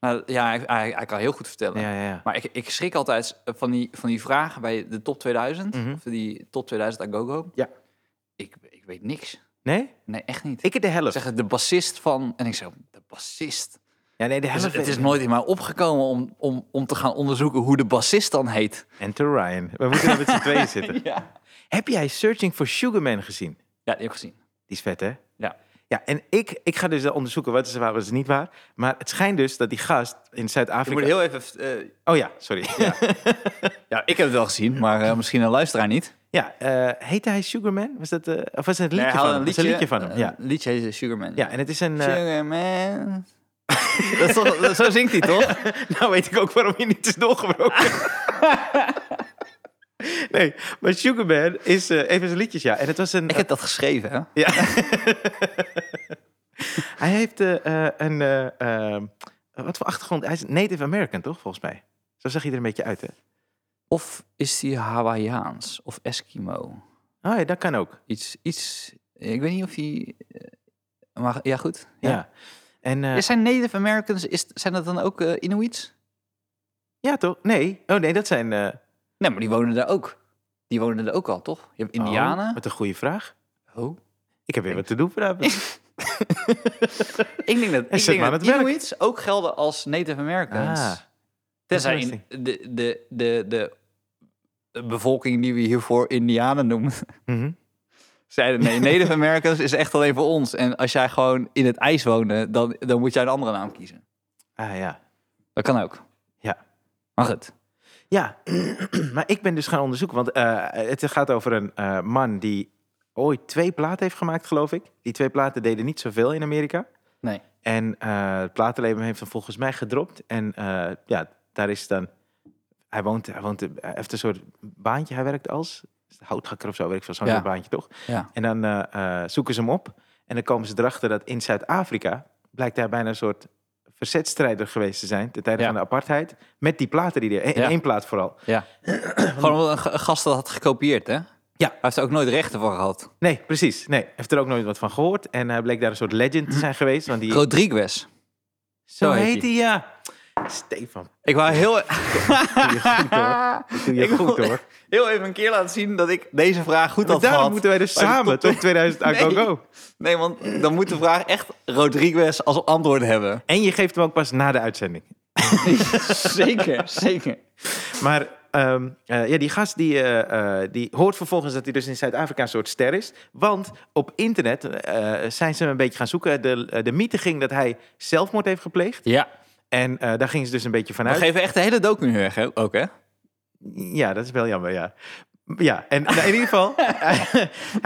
Maar ja, hij, hij- hij kan heel goed vertellen. Ja, ja, ja. Maar ik, ik schrik altijd van die, van die vragen bij de top 2000. Mhm. Of die top 2000 aan GoGo. Ja. Ik, ik weet niks. Nee? Nee, echt niet. Ik Ik de helft. zeg het, de bassist van... En ik zeg, de bassist Ja, nee, de Dus helft. het is nooit in mij opgekomen om, om, om te gaan onderzoeken hoe de bassist dan heet. En to Ryan. We moeten er met z'n tweeën zitten. Ja, Heb jij Searching for Sugar Man gezien? ja die heb ik gezien. Die is vet, hè? Ja. Ja, en ik, ik ga dus wel onderzoeken wat is waar, wat is niet waar. Maar het schijnt dus dat die gast in Ik Zuid-Afrika... moet heel even... eh, Oh ja, sorry. Ja, ja, ik heb het wel gezien, maar eh, misschien een luisteraar niet. eh, heette hij Sugarman? Was dat, eh, of was het een liedje Nee, hij van had hem? een eh, Het is een liedje van hem, ja. Een liedje heet Sugarman. Ja, en het is een... eh, Sugarman. dat is toch, dat- zo zingt hij toch? nou weet ik ook waarom hij niet is doorgebroken. nee, maar Sugarman is eh, even zijn liedjes, ja. En het was een... eh, Ik heb dat geschreven, hè? Ja. hij heeft eh, eh, een... eh, eh, wat voor achtergrond? Hij is Native American, toch? Volgens mij. Zo zag hij er een beetje uit, hè? Of is hij Hawaiiaans of Eskimo? Oh ja, dat kan ook. Iets, iets... Ik weet niet of hij... eh, Maar ja, goed. Ja. En, eh, Ja, Zijn Native Americans, is, zijn dat dan ook eh, Inuits? Ja, toch? Nee. Oh nee, dat zijn... eh, Nee, maar die wonen daar ook. Die wonen er ook al, toch? Je hebt oh, Indianen. wat een goede vraag. Oh. Ik heb weer wat te doen vanavond. Ik denk dat, ik zit denk maar dat aan het werk. Inuits ook gelden als Native Americans. Ah, Tenzij in interesting. de, de, de, de, de bevolking die we hiervoor Indianen noemen. Mhm. Zeiden nee, Native Americans is echt alleen voor ons. En als jij gewoon in het ijs woonde, dan, dan moet jij een andere naam kiezen. ah ja. Dat kan ook. Ja. Mag het? Ja, maar ik ben dus gaan onderzoeken. Want eh, het gaat over een eh, man die ooit twee platen heeft gemaakt, geloof ik. Die twee platen deden niet zoveel in Amerika. Nee. En eh, het platenlabel heeft hem volgens mij gedropt. En eh, ja, daar is dan... Hij woont, hij woont, eh, hij heeft een soort baantje. Hij werkt als houthakker of zo, weet ik veel. Zo'n Ja. soort baantje, toch? Ja. En dan eh, eh, zoeken ze hem op. En dan komen ze erachter dat in Zuid-Afrika blijkt hij bijna een soort verzetstrijder geweest te zijn. Ten tijde Ja. van de apartheid. Met die platen die hij... in Ja. één plaat vooral. ja. gewoon omdat een g- een gast dat had gekopieerd, hè? Ja. Hij heeft er ook nooit rechten voor gehad. Nee, precies. Nee, heeft er ook nooit wat van gehoord. En hij bleek daar een soort legend te zijn geweest. Want die... Rodriguez. Zo Zo heet heet hij, ja. Stefan, Ik wou heel... doe je goed hoor. Dat doe je Ik goed wil- hoor. heel even een keer laten zien dat ik deze vraag goed Maar had daarom gehad. moeten wij dus bij de samen top- tot 2000 aan Nee. Go Go. Nee, want dan moet de vraag echt Rodriguez als antwoord hebben. En je geeft hem ook pas na de uitzending. zeker, zeker. Maar ehm, eh, ja, die gast die, eh, eh, die hoort vervolgens dat hij dus in Zuid-Afrika een soort ster is. Want op internet eh, zijn ze hem een beetje gaan zoeken. De, eh, de mythe ging dat hij zelfmoord heeft gepleegd. Ja. En eh, daar gingen ze dus een beetje We vanuit. geven echt de hele docu nu weg, hè? ook, hè? Ja, dat is wel jammer, ja. Ja, en nou, in ieder geval, hij,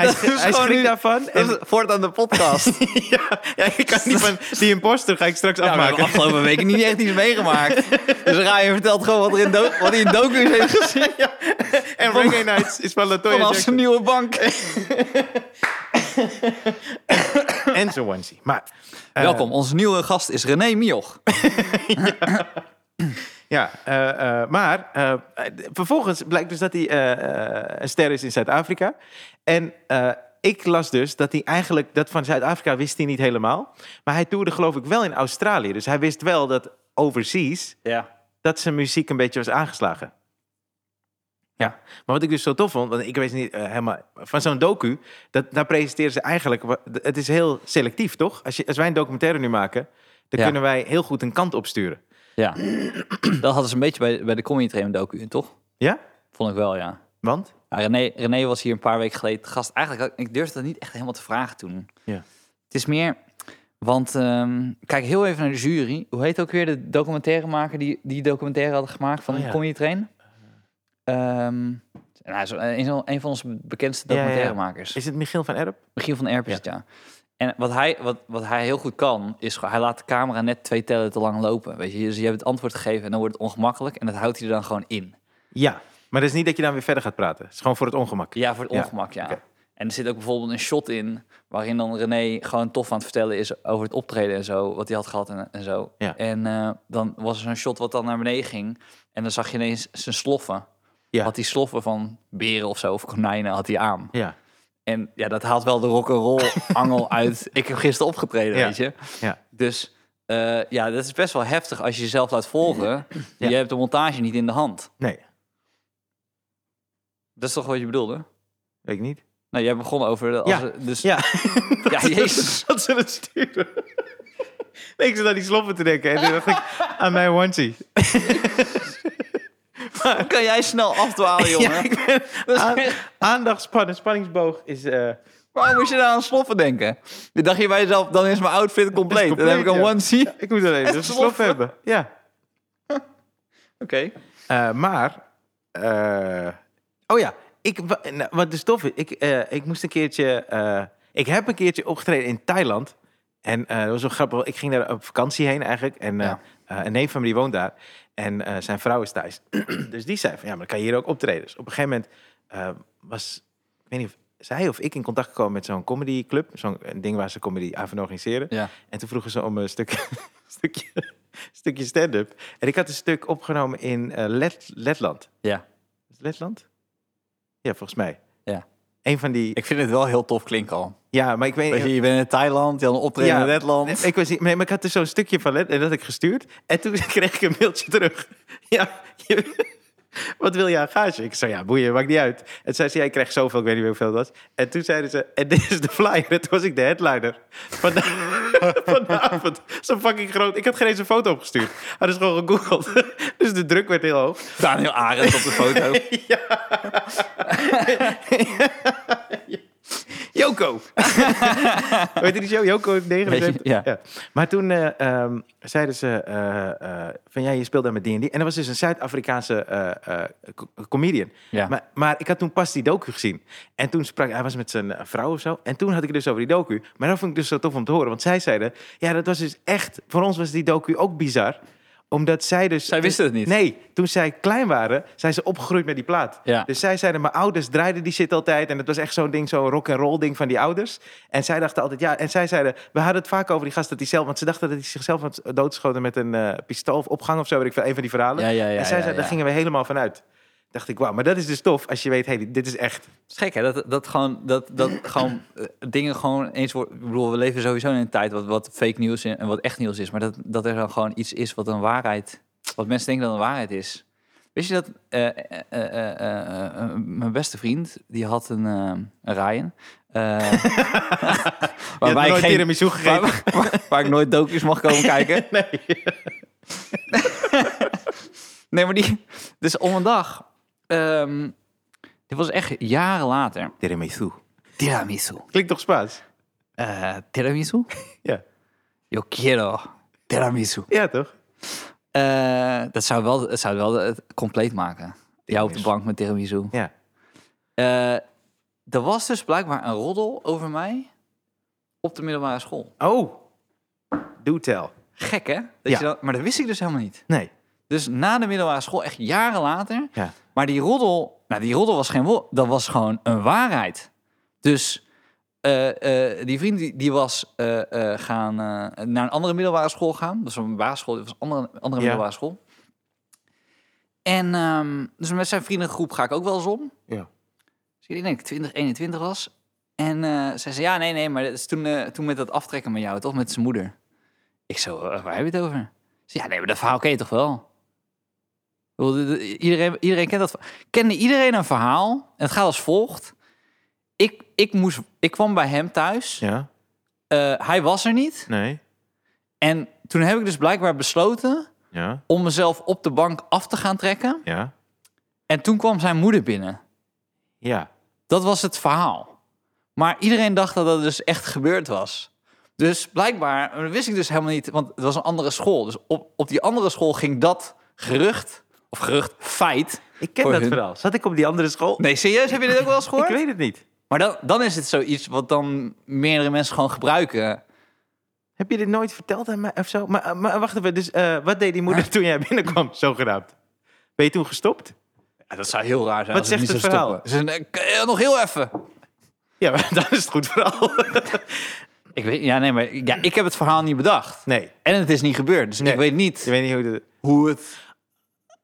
is schri- hij gewoon schrikt nu- daarvan. En, En voortaan de podcast. ja, ja, ik kan niet van, die imposter ga ik straks Ja, we hebben afmaken. afgelopen weken niet echt iets meegemaakt. Dus Ryan vertelt gewoon wat, er in do- wat hij in docu's heeft gezien En Reggae Nights is van Latoya vanaf Jackson. zijn nieuwe bank. En zo onesie. Maar eh, Welkom, onze nieuwe gast is René Mioch. Ja, eh, eh, maar eh, d- vervolgens blijkt dus dat hij eh, eh, een ster is in Zuid-Afrika. En eh, ik las dus dat hij eigenlijk, dat van Zuid-Afrika wist hij niet helemaal. Maar hij toerde geloof ik wel in Australië. Dus hij wist wel dat overseas, Ja. dat zijn muziek een beetje was aangeslagen. Ja, maar wat ik dus zo tof vond, want ik weet niet eh, helemaal van zo'n docu, dat daar presenteren ze eigenlijk. wa- d- Het is heel selectief, toch? Als, je, als wij een documentaire nu maken, dan Ja. kunnen wij heel goed een kant opsturen. ja. Dat hadden ze een beetje bij, bij de Comedy Train docu, toch? Ja? Vond ik wel, ja. Want? Ja, Nou, René, René was hier een paar weken geleden te gast. Eigenlijk, had- ik durfde dat niet echt helemaal te vragen toen. Ja. Het is meer, want ehm, kijk heel even naar de jury. Hoe heet ook weer de documentairemaker die die documentaire hadden gemaakt van Oh, de ja. Comedy Train? Ehm, en hij is een van- een van onze bekendste Ja, ja, ja. documentairemakers. Is het Michiel van Erp? Michiel van Erp is het, ja. En wat hij, wat, wat hij heel goed kan, is gewoon- hij laat de camera net twee tellen te lang lopen. Weet je? Dus je hebt het antwoord gegeven en dan wordt het ongemakkelijk. En dat houdt hij er dan gewoon in. Ja, maar dat is niet dat je dan weer verder gaat praten. Het is gewoon voor het ongemak. Ja, voor het Ja, ongemak, ja. oké. En er zit ook bijvoorbeeld een shot in waarin dan René gewoon tof aan het vertellen is over het optreden en zo, wat hij had gehad en, en zo. Ja. En eh, dan was er zo'n shot wat dan naar beneden ging en dan zag je ineens zijn sloffen. Ja. Had die sloffen van beren of zo, of konijnen, had hij aan. Ja, En ja, dat haalt wel de rock'n'roll angel uit. Ik heb gisteren opgetreden, Ja. weet je. Ja. Dus eh, ja, dat is best wel heftig als je jezelf laat volgen. Ja. Je hebt de montage niet in de hand. nee, Dat is toch wat je bedoelde? weet ik niet. Nou, jij begon over... de- Als Ja. er- dus Ja, Ja, jezus. dat ze het sturen. Nee, ik zat naar die sloppen te denken. En toen dacht ik aan mijn onesie. Dan kan jij snel afdwalen, jongen. Ja, ik ben- aan- aandachtspan en spanningsboog is... eh, Waarom moest je daar aan sloffen denken? Dan dacht je bij jezelf, dan is mijn outfit compleet. dan heb ik een compleet, ja. onesie. Oké. ik moet alleen Echt een slop sloffen? hebben. Ja. Eh, maar, eh, oh ja, ik, wa- nou, wat de stof is, ik, eh, ik moest een keertje, eh, ik heb een keertje opgetreden in Thailand. En eh, dat was wel grappig, want ik ging daar op vakantie heen eigenlijk. En eh, Ja. eh, een neef van me die woont daar. En eh, zijn vrouw is Thais. dus die zei van, ja, maar dan kan je hier ook optreden. Dus op een gegeven moment eh, was, ik weet niet of zij of ik in contact gekomen met zo'n comedyclub. Zo'n eh, ding waar ze comedyavonden organiseren. Ja. En toen vroegen ze om een stuk, stukje, stukje stand-up. En ik had een stuk opgenomen in eh, Let, Letland. Ja. Is het Letland? Ja, volgens mij. Ja. Een van die... Ik vind het wel heel tof klinken al. Ja, maar ik weet Weet je, je bent in Thailand, je had een optreden Ja. in Letland. Nee, ik, was, niet- nee, maar ik had dus zo'n stukje van Let en dat had ik gestuurd. En toen kreeg ik een mailtje terug. Ja, je- wat wil je aan gage? Ik zei, ja, boeien, maakt niet uit. En zei ze, ja, ik krijg zoveel, ik weet niet meer hoeveel dat was. En toen zeiden ze, en dit is de flyer. En toen was ik de headliner van de, van de avond. Zo fucking groot. Ik had geen eens een foto opgestuurd. Hadden ze gewoon gegoogeld. Dus de druk werd heel hoog. Daniel Arendt op de foto. Joko. Weet je die show? Joko heeft 79. Weet je, ja. Maar toen eh, ehm, zeiden ze eh, eh, van ja, je speelt daar met die en die. En dat was dus een Zuid-Afrikaanse eh, eh, co- comedian. Ja. Maar, maar ik had toen pas die docu gezien. En toen sprak hij was met zijn eh, vrouw of zo. En toen had ik het dus over die docu. Maar dat vond ik dus zo tof om te horen. Want zij zeiden, ja, dat was dus echt... Voor ons was die docu ook bizar omdat zij dus... Zij wisten het niet. Nee, toen zij klein waren, zijn ze opgegroeid met die plaat. Ja. Dus zij zeiden, mijn ouders draaiden die shit altijd. En het was echt zo'n ding, zo'n rock and roll ding van die ouders. En zij dachten altijd, ja. En zij zeiden, we hadden het vaak over die gast dat hij zelf... Want ze dachten dat hij zichzelf had doodschoten met een eh, pistool of opgang of zo. Weet ik veel, een van die verhalen. Ja, ja, ja, en zij ja, zeiden, ja. daar gingen we helemaal van uit. Dacht ik, wauw, maar dat is dus tof als je weet, hey, dit is echt. Het is gek, hè? Dat, dat gewoon, dat, dat gewoon eh, dingen gewoon eens worden... Ik bedoel, we leven sowieso in een tijd wat, wat fake nieuws en en wat echt nieuws is. Maar dat, dat er dan gewoon iets is wat een waarheid... Wat mensen denken dat een waarheid is. Wist je dat... eh, eh, eh, eh, eh, eh, mijn beste vriend, die had een, eh, een Ryan. eh, Je hebt ik nooit geen- tiramisu gegeten. Waar, waar- waar ik nooit docu's mag komen kijken. Nee. nee, maar die... Dus om een dag... ehm, dit was echt jaren later. Tiramisu. Tiramisu. Klinkt toch Spaans? Eh, tiramisu? Ja. Yo quiero tiramisu. Ja, toch? Eh, dat zou wel, dat zou wel het compleet maken. Jou op de Tiramisu. bank met tiramisu. Ja. Eh, er was dus blijkbaar een roddel over mij op de middelbare school. Oh, do tell. Gek, hè? Dat Ja. je dat, maar dat wist ik dus helemaal niet. Nee. Dus na de middelbare school, echt jaren later. Ja. Maar die roddel, nou die roddel was geen wo- dat was gewoon een waarheid. Dus eh, eh, die vriend die, die was eh, eh, gaan, eh, naar een andere middelbare school gaan. Dus een basisschool, dat was een andere, andere Ja. middelbare school. En ehm, dus met zijn vriendengroep ga ik ook wel eens om. Ja. Dus ik denk dat ik 20, 21 was. En eh, zij zei, ja, nee, nee, maar dat is toen, eh, toen met dat aftrekken met jou, toch? Met zijn moeder. Ik zo, eh, waar heb je het over? Ze ja, nee, maar dat verhaal ken je toch wel? Ik bedoel, de- de- Iedereen, iedereen kent dat. verhaal. Kende iedereen een verhaal? En het gaat als volgt. Ik, ik, moest, ik kwam bij hem thuis. Ja? Eh, hij was er niet. Nee? En toen heb ik dus blijkbaar besloten Ja? om mezelf op de bank af te gaan trekken. Ja? En toen kwam zijn moeder binnen. Ja. Dat was het verhaal. Maar iedereen dacht dat dat dus echt gebeurd was. Dus blijkbaar, maar dat wist ik dus helemaal niet, want het was een andere school. Dus op, op die andere school ging dat gerucht, of gerucht, feit. Ik ken Voor dat hun. verhaal. Zat ik op die andere school? Nee, serieus, heb je dit ook wel eens gehoord? Ik weet het niet. Maar dan, dan is het zoiets wat dan meerdere mensen gewoon gebruiken. Heb je dit nooit verteld aan mij of zo? Maar, eh, maar wacht even, dus eh, wat deed die moeder toen jij binnenkwam, zogenaamd? Ben je toen gestopt? Ja, dat zou heel raar zijn. Wat als zegt niet het zou verhaal? stoppen. Ze zeggen, "Eh, k- eh, nog heel even. Ja, maar dat is het goed verhaal. Ik weet, ja, nee, maar ja, ik heb het verhaal niet bedacht. Nee, En het is niet gebeurd. Dus Nee. ik weet niet je weet niet hoe de... hoe het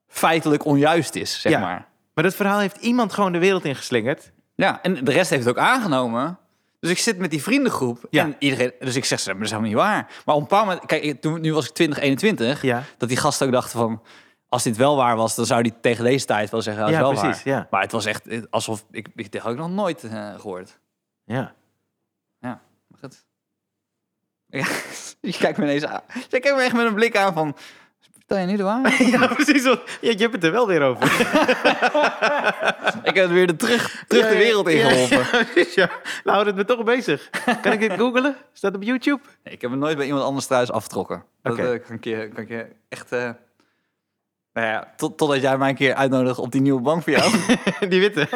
feitelijk onjuist is, zeg Ja. maar. Maar dat verhaal heeft iemand gewoon de wereld ingeslingerd. Ja, en de rest heeft het ook aangenomen. Dus ik zit met die vriendengroep. Ja. En iedereen, dus ik zeg ze, maar dat is helemaal niet waar. Maar op een bepaald moment, kijk, ik- toen, nu was ik 20, 21. Ja. Dat die gasten ook dachten van, als dit wel waar was, dan zou die tegen deze tijd wel zeggen, dat is Ja, wel precies, waar. ja. Maar het was echt eh, alsof, ik, ik dit had ik nog nooit eh, gehoord. Ja. Ja, maar goed. Ik Ja, je kijkt me ineens aan. Je kijkt me echt met een blik aan van... Vertel je nu de waarheid? Ja, precies. want Je, je hebt het er wel weer over. ik heb het weer de terug, terug de wereld ingeholpen. Ja, precies, ja. Nou, houdt het me toch bezig. Kan ik dit googlen? Staat op YouTube? Nee, ik heb het nooit bij iemand anders thuis afgetrokken. Dat Oké. eh, kan, ik je, kan ik je echt... eh, nou ja, tot, totdat jij mij een keer uitnodigt op die nieuwe bank voor jou. Die witte.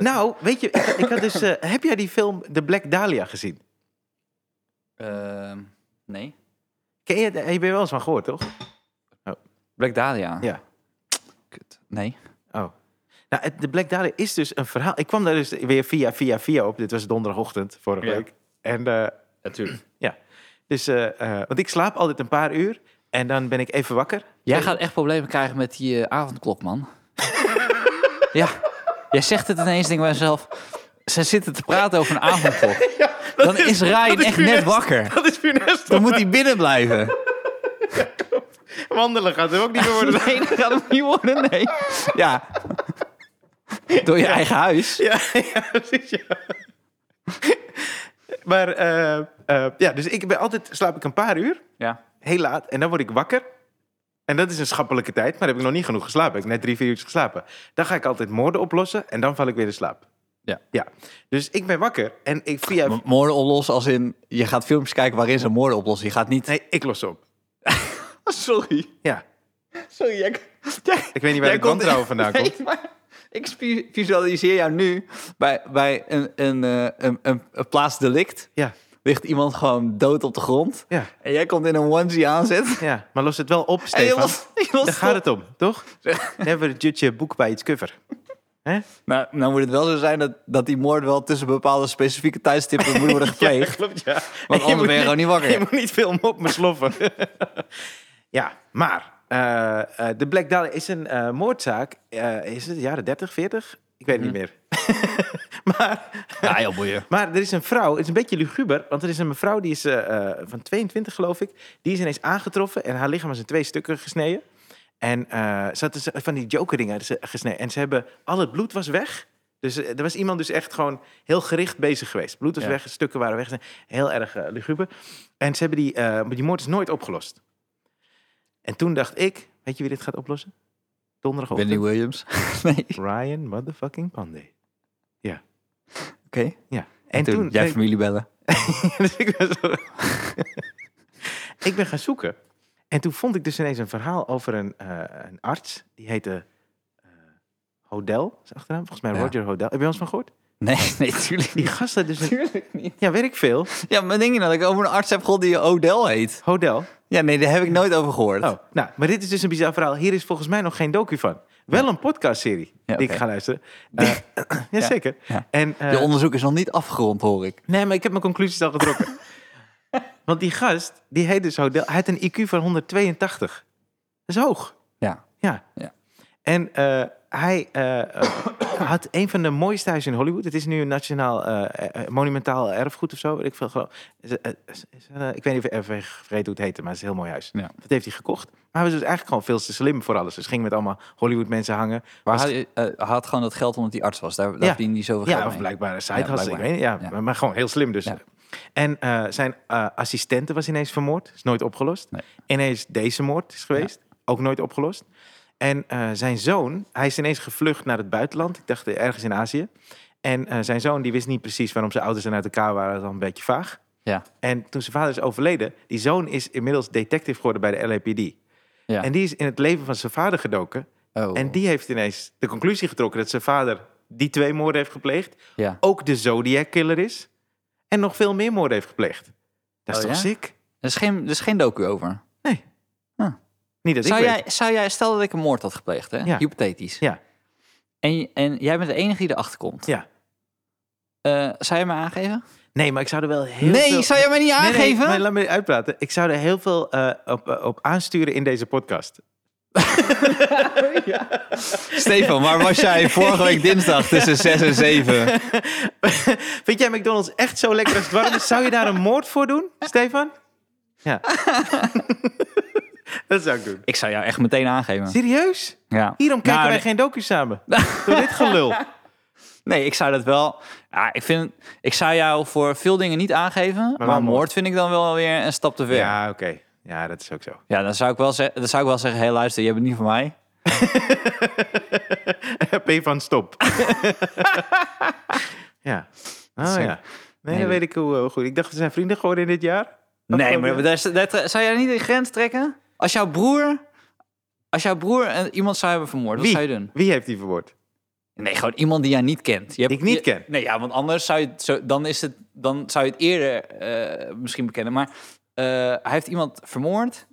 Nou, weet je, ik, ik had dus, eh, heb jij die film The Black Dahlia gezien? Ehm, nee. Ken je, heb je wel eens van gehoord, toch? Black Dahlia. Ja. Kut. Nee. Oh. Nou, het, de Black Dahlia is dus een verhaal. Ik kwam daar dus weer via, via, via op. Dit was donderdagochtend vorige Ja. week. En eh, Natuurlijk. ja, dus, eh, eh, want ik slaap altijd een paar uur en dan ben ik even wakker. Jij gaat echt problemen krijgen met die eh, avondklok, man. ja. Jij zegt het ineens, denk ik bij mezelf. Ze zitten te praten over een avondklok. Dan is Ryan echt net wakker. Dat is funest. Dan moet hij binnen blijven. Wandelen gaat er ook niet meer worden. Nee, dat gaat hem niet worden, nee. Ja. Door je eigen huis. Ja, ja precies. Ja. Maar eh, eh, ja, dus ik ben altijd slaap ik een paar uur, Ja. heel laat, en dan word ik wakker. En dat is een schappelijke tijd, maar heb ik nog niet genoeg geslapen. Ik heb net drie, vier uurtjes geslapen. Dan ga ik altijd moorden oplossen en dan val ik weer in slaap. Ja. ja. Dus ik ben wakker en ik via... Moorden oplossen als in... Je gaat filmpjes kijken waarin ze moorden oplossen. Je gaat niet... Nee, ik los op. Sorry. Ja. Sorry, jij... Ik weet niet waar Jij de wantrouwen komt- vandaan Nee, komt. maar ik spi- visualiseer jou nu bij, bij een, een, eh, een, een, een plaatsdelict. Ja, Ligt iemand gewoon dood op de grond. ja, En jij komt in een onesie aanzet. ja. Maar los het wel op, En je Stefan. was, je was Daar gaat het om, toch? Never judge je boek bij its cover. Hè? Nou, nou moet het wel zo zijn dat, dat die moord wel tussen bepaalde specifieke tijdstippen moet worden gepleegd. klopt, ja. Want En je anders moet ben je gewoon niet wakker. Je moet niet filmen op me sloffen. ja, maar eh, eh, de Black Dahlia is een eh, moordzaak. eh, is het jaren 30, 40? Ik weet het niet meer. maar, Ja, heel boeien. maar er is een vrouw, het is een beetje luguber, want er is een mevrouw die is eh, eh, van 22 geloof ik, die is ineens aangetroffen en haar lichaam is in twee stukken gesneden. En eh, ze had dus van die jokeringen gesneden. En ze hebben, al het bloed was weg. Dus eh, er was iemand dus echt gewoon heel gericht bezig geweest. Bloed was Ja. weg, stukken waren weg. Heel erg eh, luguber. En ze hebben die, eh, maar die moord is nooit opgelost. En toen dacht ik, weet je wie dit gaat oplossen? Donderdagochtend. Wendy Williams. nee. Oké. Ryan motherfucking Pandey. En, Ja. En, toen, toen, jij ben ik- familie bellen. dus ik ben zo- ik ben gaan zoeken. En toen vond ik dus ineens een verhaal over een, eh, een arts. Die heette eh, Hodel, is achternaam. Volgens mij Ja. Roger Hodel. Heb je wel eens van gehoord? Nee, nee, tuurlijk Die niet. gast had dus een... Tuurlijk niet. Ja, weet ik veel. Ja, maar denk je nou dat ik over een arts heb gehoord die Odell heet? Hodel. Ja, nee, daar heb ik nooit over gehoord. Oh, nou, maar dit is dus een bizar verhaal. Hier is volgens mij nog geen docu van. Wel een podcastserie Ja, die ik oké. ga luisteren. Eh jazeker. Ja. En, eh, Je onderzoek is nog niet afgerond, hoor ik. Nee, maar ik heb mijn conclusies al getrokken. Want die gast, die heet dus Hodel, hij had een IQ van 182. Dat is hoog. Ja. Ja. Ja. En eh, hij eh, had een van de mooiste huizen in Hollywood. Het is nu een nationaal eh, eh, monumentaal erfgoed of zo. weet Ik, veel, geloof. Is- eh, is- is- eh, ik weet niet of even vergeten hoe het heette, maar het is een heel mooi huis. Ja. Dat heeft hij gekocht. Maar hij was dus eigenlijk gewoon veel te slim voor alles. Dus ging met allemaal Hollywood mensen hangen. Maar Was- hij eh, hij had gewoon dat geld omdat hij arts was. Daar, daar Ja. verdiende hij zoveel Ja, geld of mee. blijkbaar een side hustle, ik blijkbaar. weet niet, ja, Ja. Maar, maar gewoon heel slim dus. Ja. En eh, zijn eh, assistente was ineens vermoord. Is nooit opgelost. Nee. Ineens deze moord is geweest. Ook nooit opgelost. En eh, zijn zoon, hij is ineens gevlucht naar het buitenland. Ik dacht eh, ergens in Azië. En eh, zijn zoon, die wist niet precies waarom zijn ouders dan uit elkaar waren. Dat was een beetje vaag. Ja. En toen zijn vader is overleden, die zoon is inmiddels detective geworden bij de LAPD. Ja. En die is in het leven van zijn vader gedoken. Oh. En die heeft ineens de conclusie getrokken dat zijn vader die twee moorden heeft gepleegd Ja. ook de Zodiac Killer is. En nog veel meer moorden heeft gepleegd. Dat is Oh, toch ja? ziek? Er is geen, er is geen docu over. Dus Nee. Huh. Niet dat Ah. Zou ik jij, weet. zou jij, stel dat ik een moord had gepleegd, hè? Ja. Hypothetisch. Ja. En, en jij bent de enige die erachter komt. Ja. Eh, zou je me aangeven? Nee, maar ik zou er wel heel nee, veel... zou jij mij niet Nee, nee, aangeven? maar laat me uitpraten. Ik zou er heel veel eh, op, op aansturen in deze podcast. Stefan, waar was jij vorige week dinsdag tussen 6 en 7? Vind jij McDonald's echt zo lekker als het warm is? Zou je daar een moord voor doen, Stefan? Ja. dat zou ik doen. Ik zou jou echt meteen aangeven. Serieus? Ja. Hierom kijken Nou, wij nee. geen docu samen. Door dit gelul. Nee, ik zou dat wel. Ja, ik, vind, ik zou jou voor veel dingen niet aangeven. Maar, wel moord. moord vind ik dan wel weer een stap te ver. Ja, Ja, oké. Ja, dat is ook zo. dan, zou ik wel ze- dan zou ik wel zeggen: hé, hey, luister, je bent niet van mij. P van stop. ja. Oh Zo. ja. Nee, Nee, dat dat- weet ik hoe eh, goed. Ik dacht, we zijn vrienden geworden in dit jaar. Nee, Afgelopen maar jaar. daar, is- daar, zou jij niet een grens trekken? Als jouw broer. Als jouw broer eh, iemand zou hebben vermoord, Wie? wat zou je doen? Wie heeft die verwoord? Nee, gewoon iemand die jij niet kent. Je hebt, Die ik niet je- ken? Nee, ja, want anders zou je het, zo, dan is het, dan zou je het eerder eh, misschien bekennen. Maar eh, hij heeft iemand vermoord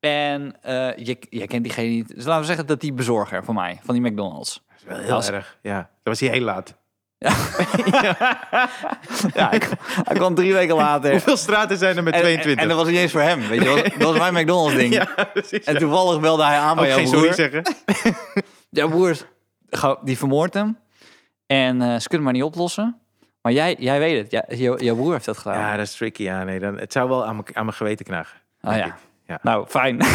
en eh, je, je kent diegene niet. Dus laten we zeggen dat die bezorger van mij, van die McDonald's. Dat is wel heel Als- erg. Ja, dat was hij heel laat. Ja, ik- hij kwam drie weken later. Hoeveel straten zijn er met En- 22? En, en dat was niet eens voor hem, weet je. Dat was, dat was mijn McDonald's ding. ja, precies. En toevallig belde hij aan bij Ook jouw geen Oh, broer. sorry zeggen. Jouw broer is- gauw- die vermoordt hem. En eh, ze kunnen maar niet oplossen. Maar jij, jij weet het. Ja, jouw- jouw broer heeft dat gedaan. Ja, dat is tricky. Ja, nee, dan, het zou wel aan mijn- aan mijn geweten knagen. Ah denk ja. ik. Ja. Nou, fijn.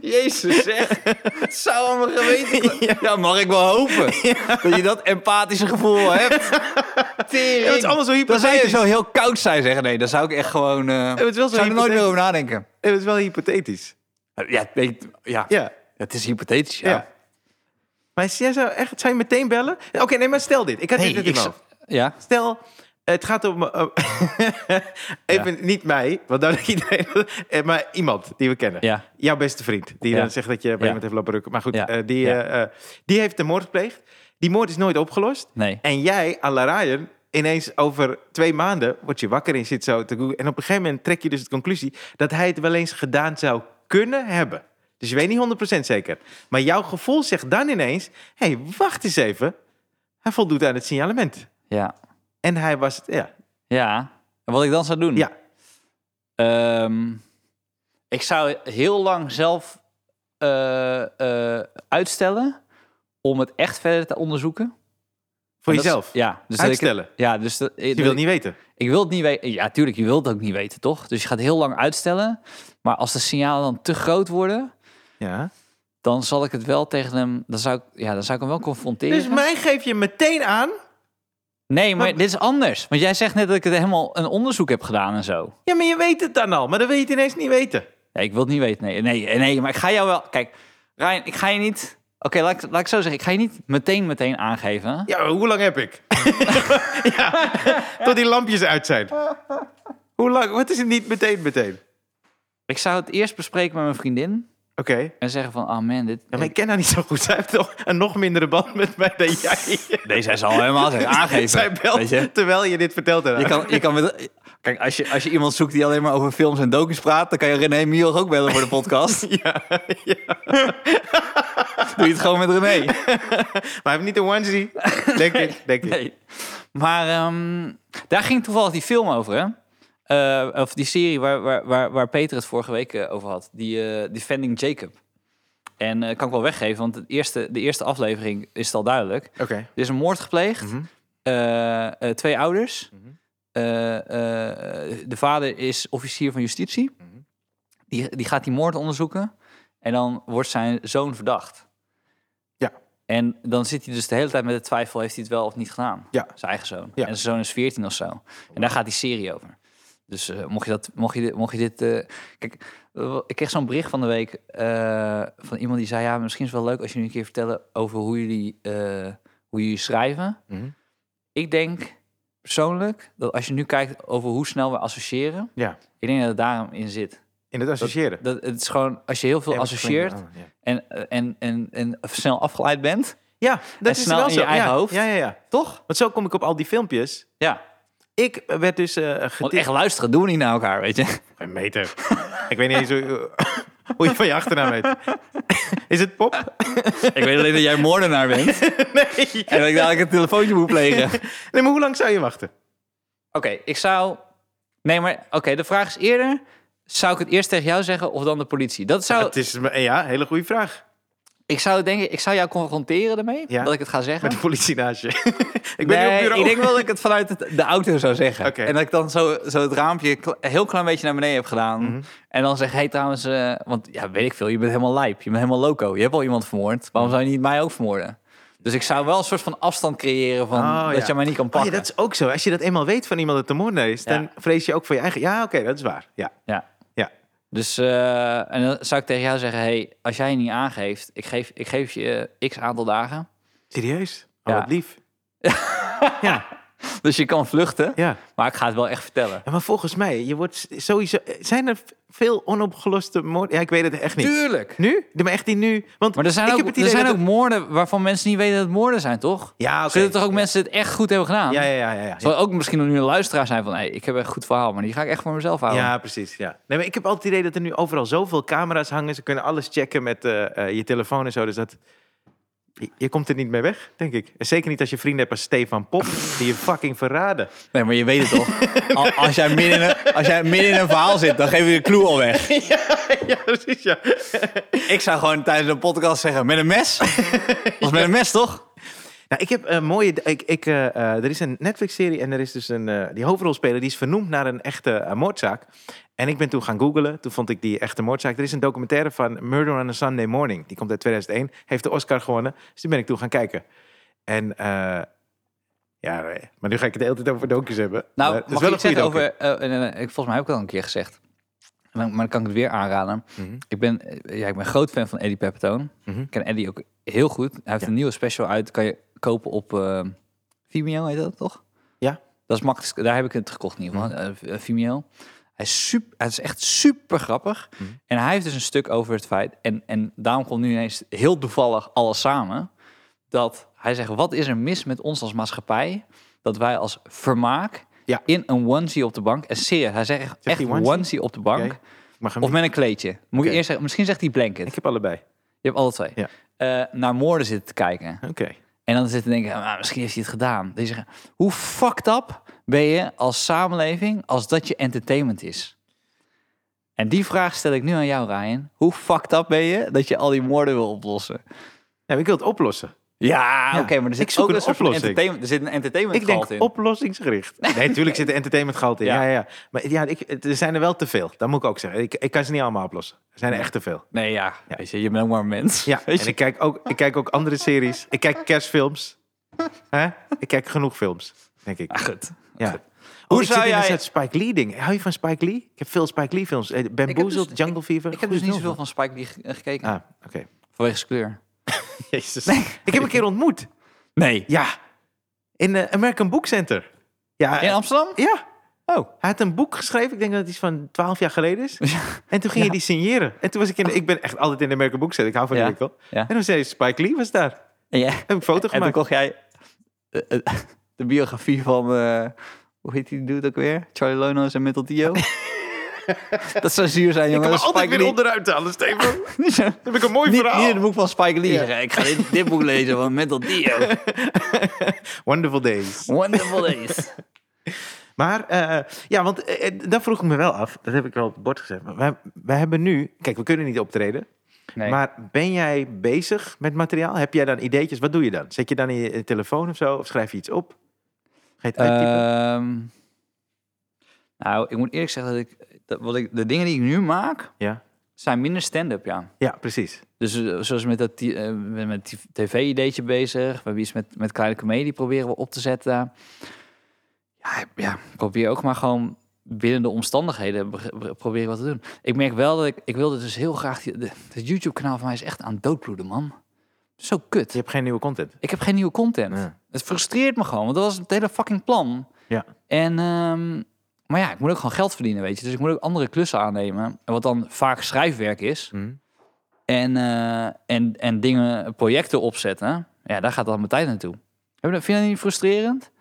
Jezus, zeg. Het zou aan mijn geweten... Ja. mag ik wel hopen. Dat je dat empathische gevoel hebt. Tering. Ja, het is allemaal zo Dan zou je hypothetisch. zo heel koud zijn zeggen. Nee, dan zou ik echt gewoon... eh het is wel zo zou ik er nooit hypothetisch. meer over nadenken. Eh, Het is wel hypothetisch. Ja, weet- ja. Ja. het is hypothetisch, ja. Ja. Maar jij zou echt, zou je meteen bellen? Oké, nee, maar stel dit. Ik had Nee, dit net ik in mijn zou- hoofd. Ja. Stel, het gaat om... eh, even niet mij, want dan iedereen... eh, maar iemand die we kennen. Ja. Jouw beste vriend. Die Ja. dan zegt dat je bij Ja. iemand heeft lopen rukken. Maar goed, Ja. eh, die, Ja. eh, eh, die heeft de moord gepleegd. Die moord is nooit opgelost. Nee. En jij, à la Ryan, ineens over twee maanden word je wakker en zit zo te googlen. En op een gegeven moment trek je dus de conclusie dat hij het wel eens gedaan zou kunnen hebben. Dus je weet niet 100% zeker. Maar jouw gevoel zegt dan ineens: hé, hey, wacht eens even. Hij voldoet aan het signalement. Ja. En hij was het, ja. Ja. En wat ik dan zou doen? Ja, Ehm, ik zou heel lang zelf eh, eh, uitstellen om het echt verder te onderzoeken. voor En dat is- jezelf. ja, dus dat ik- Uitstellen. ja, dus dat, Je wil niet weten. ik wil het niet weten. Ja, tuurlijk, je wilt het ook niet weten, toch? Dus je gaat heel lang uitstellen. Maar als de signalen dan te groot worden, Ja. dan zal ik het wel tegen hem. Dan zou ik, ja, dan zou ik hem wel confronteren. Dus mij geef je meteen aan. nee, maar Maar- dit is anders. Want jij zegt net dat ik het helemaal een onderzoek heb gedaan en zo. Ja, maar je weet het dan al. Maar dan wil je het ineens niet weten. Nee, ik wil het niet weten. Nee, nee, nee, maar ik ga jou wel. Kijk, Ryan, ik ga je niet. Oké, laat, ik- laat ik zo zeggen. Ik ga je niet meteen, meteen aangeven. Ja, hoe lang heb ik? ja, tot die lampjes uit zijn. Hoe lang? Wat is het niet meteen meteen? Ik zou het eerst bespreken met mijn vriendin. Oké. En zeggen van, oh man, dit... Ja, maar ik ken haar niet zo goed. Zij heeft nog een nog mindere band met mij dan jij. Nee, zij zal helemaal zeggen, aangeven. Zij belt Weet je? terwijl je dit vertelt. aan Je haar. kan, je kan met, kijk, als je, als je iemand zoekt die alleen maar over films en docu's praat... dan kan je René Mioch ook bellen voor de podcast. Ja, ja. Doe je het gewoon met René. Maar hij heeft niet een onesie. Denk ik. Denk ik. Nee. Maar ehm, daar ging toevallig die film over, hè? Eh, of die serie waar, waar, waar, waar Peter het vorige week eh, over had. Die eh, Defending Jacob. En eh, kan ik wel weggeven, want het eerste, de eerste aflevering is het al duidelijk. Oké. Er is een moord gepleegd. Eh, eh, twee ouders. Mhm. Eh, eh, de vader is officier van justitie. Mhm. Die, die gaat die moord onderzoeken. En dan wordt zijn zoon verdacht. Ja. En dan zit hij dus de hele tijd met de twijfel: heeft hij het wel of niet gedaan? Ja. Zijn eigen zoon. Ja. En zijn zoon is 14 of zo. En daar gaat die serie over. Dus eh, mocht je dat, mocht je dit, mocht je dit eh, kijk, eh, ik kreeg zo'n bericht van de week eh, van iemand die zei: ja, misschien is het wel leuk als jullie een keer vertellen over hoe jullie, eh, hoe jullie schrijven. Mhm. Ik denk persoonlijk dat als je nu kijkt over hoe snel we associëren, Ja. ik denk dat het daarom in zit. In het associëren. Dat het is gewoon als je heel veel Ja, wat associeert klinkt er aan, en, eh, en, en, en snel afgeleid bent, Ja, Ja, dat is snel wel in zo. je eigen ja. hoofd. Ja, ja, ja. toch? Want zo kom ik op al die filmpjes. Ja. Ik werd dus eh Want getipt- echt luisteren doen we niet naar elkaar, weet je? Een meter. ik weet niet eens hoe, hoe je van je achternaam weet. Is het pop? ik weet alleen dat jij moordenaar bent Nee. en dat ik dadelijk een telefoontje moet plegen. Nee, maar hoe lang zou je wachten? Oké, ik zou. Nee, maar oké, de vraag is eerder. Zou ik het eerst tegen jou zeggen of dan de politie? Dat zou. Het is me- ja, een hele goede vraag. Ik zou denken, ik zou jou confronteren ermee Ja. dat ik het ga zeggen. Met de politie naast je. ik ben nee, nu op bureau. ik denk wel dat ik het vanuit het- de auto zou zeggen. Oké. En dat ik dan zo, zo het raampje kle- een heel klein beetje naar beneden heb gedaan. Mhm. En dan zeg, hé hey, trouwens, eh, Mhm. want ja, weet ik veel, je bent helemaal lijp. Je bent helemaal loco. Je hebt al iemand vermoord. Waarom zou je niet mij ook vermoorden? Dus ik zou wel een soort van afstand creëren van Oh, dat ja. je maar niet kan Oh pakken. ja, dat is ook zo. Als je dat eenmaal weet van iemand dat de moordenaar is, dan Ja. vrees je ook voor je eigen. Ja, oké, dat is waar. Ja. Ja. Ja. Dus eh, en dan zou ik tegen jou zeggen: hey, als jij je niet aangeeft, ik geef, ik geef je eh, x aantal dagen. Serieus? Oh, Ja. wat lief. ja, Dus je kan vluchten, ja. maar ik ga het wel echt vertellen. Ja, Maar volgens mij, je wordt s- sowieso. eh, Zijn er v- veel onopgeloste moorden? Ja, ik weet het echt niet. Tuurlijk. Nu? De- Maar echt die nu? Want Maar er zijn ik ook, heb het er idee zijn dat ook moorden waarvan mensen niet weten dat het moorden zijn, toch? Ja, oké. Zullen er toch ook mensen die het echt goed hebben gedaan? Ja, ja, ja, ja, ja. Zal ook misschien nog nu een luisteraar zijn van: hey, ik heb echt een goed verhaal, maar die ga ik echt voor mezelf houden. Ja, precies. Ja. Nee, maar ik heb altijd het idee dat er nu overal zoveel camera's hangen. Ze kunnen alles checken met eh, eh, je telefoon en zo. Dus dat. Je, je komt er niet mee weg, denk ik. En zeker niet als je vrienden hebt als Stefan Pop, die je fucking verraden. Nee, maar je weet het toch? Al- Als jij midden in een, als jij midden in een verhaal zit, dan geef je de clue al weg. ja, precies, ja. Ik zou gewoon tijdens een podcast zeggen, met een mes? Was met een mes, toch? Nou, ik heb een mooie. Ik, ik, eh, eh, er is een Netflix-serie en er is dus een. eh, die hoofdrolspeler die is vernoemd naar een echte eh, moordzaak. En ik ben toen gaan googlen. Toen vond ik die echte moordzaak. Er is een documentaire van Murder on a Sunday Morning. Die komt uit 2001. Heeft de Oscar gewonnen. Dus die ben ik toen gaan kijken. En. eh, ja, nee. maar nu ga ik het de hele tijd over docu's hebben. Nou, Maar het is mag wel ik een iets zeggen goede docu. over... eh, eh, eh, ik, volgens mij heb ik dat al een keer gezegd. Maar, maar dan kan ik het weer aanraden. Mhm. Ik, ben, eh, ja, ik ben groot fan van Eddie Pepitone. Mhm. Ik ken Eddie ook heel goed. Hij heeft Ja. een nieuwe special uit. Kan je kopen op eh, Vimeo, heet dat toch? Ja. Dat is makkelijk. Daar heb ik het gekocht in ieder geval. Mhm. eh, eh, Vimeo. Hij is, super, hij is echt super grappig. Mhm. En hij heeft dus een stuk over het feit... En, en daarom komt nu ineens heel toevallig alles samen... dat hij zegt, wat is er mis met ons als maatschappij... dat wij als vermaak Ja. in een onesie op de bank... en serieus, hij zegt echt, hij echt onesie? onesie? op de bank... Oké. Mag hem of niet? met een kleedje. Moet Oké. je eerst zeggen, misschien zegt hij blanket. Ik heb allebei. Je hebt alle twee. Ja. Eh, naar moorden zitten te kijken. Oké. En dan zitten denken, ah, misschien heeft hij het gedaan. Die zeggen, hoe fucked up ben je als samenleving als dat je entertainment is? En die vraag stel ik nu aan jou, Ryan. Hoe fucked up ben je dat je al die moorden wil oplossen? Nou, ik wil het oplossen. Ja, oké, maar er ik zit zoek ook een een soort van oplossing. entertainment. Er zit een entertainment Ik denk gehalte in. oplossingsgericht. Nee, natuurlijk zit er entertainment gehalte in. Ja. Ja. Ja, ja. Maar ja, ik, het- er zijn er wel te veel. Dat moet ik ook zeggen. Ik, ik kan ze niet allemaal oplossen. Er zijn er echt te veel. Nee, ja, Ja. Weet je, je bent ook maar een mens. Ja, Weet en je? ik kijk, ook, ik kijk ook andere series. Ik kijk kerstfilms. Hè? Ik kijk genoeg films, denk ik. Ah, goed. Ja. Hoe Hoe ik zou zit in jij- een soort Spike Lee ding. Hou je van Spike Lee? Ik heb veel Spike Lee films. Eh, Bamboozled, dus- Jungle Fever. Ik Goeie heb dus niet film. zoveel van Spike Lee ge- gekeken. Ah, oké. Vanwege zijn kleur. Jezus. Ik heb een keer ontmoet. Nee. Ja. In de American Book Center. Ja, In Amsterdam? Ja. Oh. Hij had een boek geschreven, ik denk dat het iets van 12 jaar geleden is. En toen ging je die signeren. En toen was ik in de, ik ben echt altijd in de American Book Center, ik hou van Ja, die winkel. ja. En toen zei hij, Spike Lee was daar. En jij? Heb ik een foto En toen gemaakt. kocht jij eh, eh, de biografie van, eh, hoe heet die dude ook weer? Charlie Lonos en Metal Dio. dat zou zuur zijn, Ik jongen. kan me Dat altijd Spike weer Lee- onderuit halen, Steven. Dan Niet, zo- heb ik een mooi niet, verhaal. niet het boek van Spike Lee. Ja. zeggen, ik ga dit, dit boek lezen van Metal Dio. Wonderful days. Wonderful Days. Maar eh, ja, want eh, eh, dat vroeg ik me wel af. Dat heb ik wel op het bord gezet. Maar wij, wij hebben nu... Kijk, we kunnen niet optreden. Nee. Maar ben jij bezig met materiaal? Heb jij dan ideetjes? Wat doe je dan? Zet je dan in je telefoon of zo? Of schrijf je iets op? Ga je het uittypen? Ehm, nou, ik moet eerlijk zeggen dat ik, dat, wat ik, de dingen die ik nu maak, ja. zijn minder stand-up, ja. ja, precies. Dus eh, zoals met dat ti- eh, we zijn met die tv-ideetje bezig. We hebben iets met, met kleine comedie proberen we op te zetten. Ja, ja, probeer ook maar gewoon binnen de omstandigheden be- be- proberen wat te doen. Ik merk wel dat ik, ik wilde dus heel graag... die- de- Het YouTube-kanaal van mij is echt aan het doodbloeden, man. Zo kut. Je hebt geen nieuwe content. Ik heb geen nieuwe content. Ja. Het frustreert me gewoon, want dat was het hele fucking plan. Ja. En, ehm, maar ja, ik moet ook gewoon geld verdienen, weet je. Dus ik moet ook andere klussen aannemen. Wat dan vaak schrijfwerk is. Mhm. En, eh, en, en dingen, projecten opzetten. Ja, daar gaat dan mijn tijd naartoe. Heb je dat- Vind je dat niet frustrerend?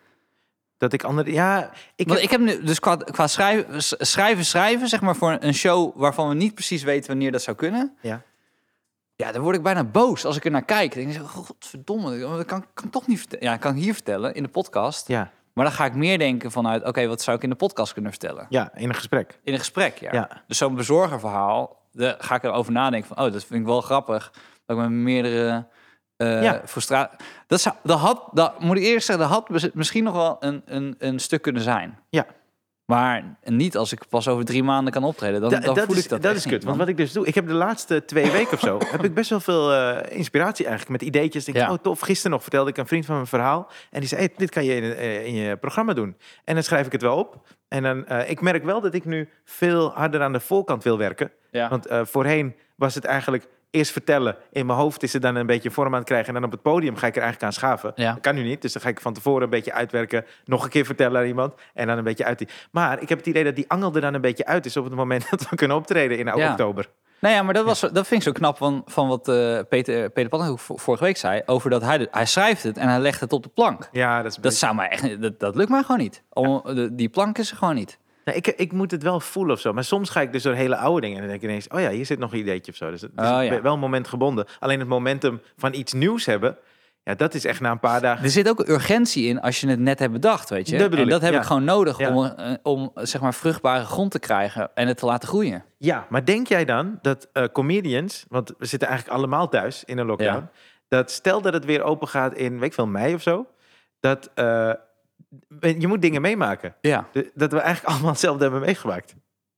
Dat ik andere. Ja, ik Want heb, ik heb nu, dus qua, qua schrijven, s- schrijven, schrijven, zeg maar, voor een show waarvan we niet precies weten wanneer dat zou kunnen. Ja. Ja, dan word ik bijna boos als ik er naar kijk. Dan denk ik, godverdomme, dat kan, kan ik toch niet vertellen. Ja, kan ik hier vertellen in de podcast. ja, Maar dan ga ik meer denken vanuit, oké, wat zou ik in de podcast kunnen vertellen? ja, in een gesprek. In een gesprek, ja. Ja. Dus zo'n bezorgerverhaal, daar ga ik erover nadenken van, oh, dat vind ik wel grappig. Dat ik met meerdere eh Ja. frustraties... Dat, zou, dat had, dat moet ik eerlijk zeggen, dat had mis- misschien nog wel een, een, een stuk kunnen zijn. Ja. Maar niet als ik pas over drie maanden kan optreden. Dan, Da- dan voel is, ik dat echt is niet, kut. Want man. wat ik dus doe, ik heb de laatste twee weken of zo, heb ik best wel veel eh, inspiratie eigenlijk met ideetjes. Denk, ik, Ja. oh tof, gisteren nog vertelde ik een vriend van mijn verhaal. En die zei, hey, dit kan je in, eh, in je programma doen. En dan schrijf ik het wel op. En dan, eh, ik merk wel dat ik nu veel harder aan de voorkant wil werken. Ja. Want eh, voorheen was het eigenlijk eerst vertellen. In mijn hoofd is het dan een beetje vorm aan het krijgen. En dan op het podium ga ik er eigenlijk aan schaven. Ja. Dat kan nu niet. Dus dan ga ik van tevoren een beetje uitwerken. Nog een keer vertellen aan iemand. En dan een beetje uit die. Maar ik heb het idee dat die angel er dan een beetje uit is. op het moment dat we kunnen optreden in Ja. oktober. Nou ja, maar dat, was, dat vind ik zo knap van, van wat eh, Peter, Peter Pannenkoek vo- vorige week zei. Over dat hij, hij schrijft het en hij legt het op de plank. Ja, dat is. Dat, zou mij echt, dat, dat lukt mij gewoon niet. Om, de- die plank is er gewoon niet. Nee, Nou, ik, ik moet het wel voelen of zo. Maar soms ga ik dus door hele oude dingen. En dan denk ik ineens: oh ja, hier zit nog een ideetje of zo. Dus het is Oh ja. wel een moment gebonden. Alleen het momentum van iets nieuws hebben. Ja, dat is echt na een paar dagen. Er zit ook een urgentie in als je het net hebt bedacht, weet je. Dat bedoel en dat ik, heb ja. ik gewoon nodig Ja. om, eh, om zeg maar vruchtbare grond te krijgen en het te laten groeien. Ja, maar denk jij dan dat eh, comedians, want we zitten eigenlijk allemaal thuis in een lockdown, Ja. dat stel dat het weer open gaat in, weet ik veel, mei of zo, dat eh, je moet dingen meemaken. Ja. De- Dat we eigenlijk allemaal hetzelfde hebben meegemaakt.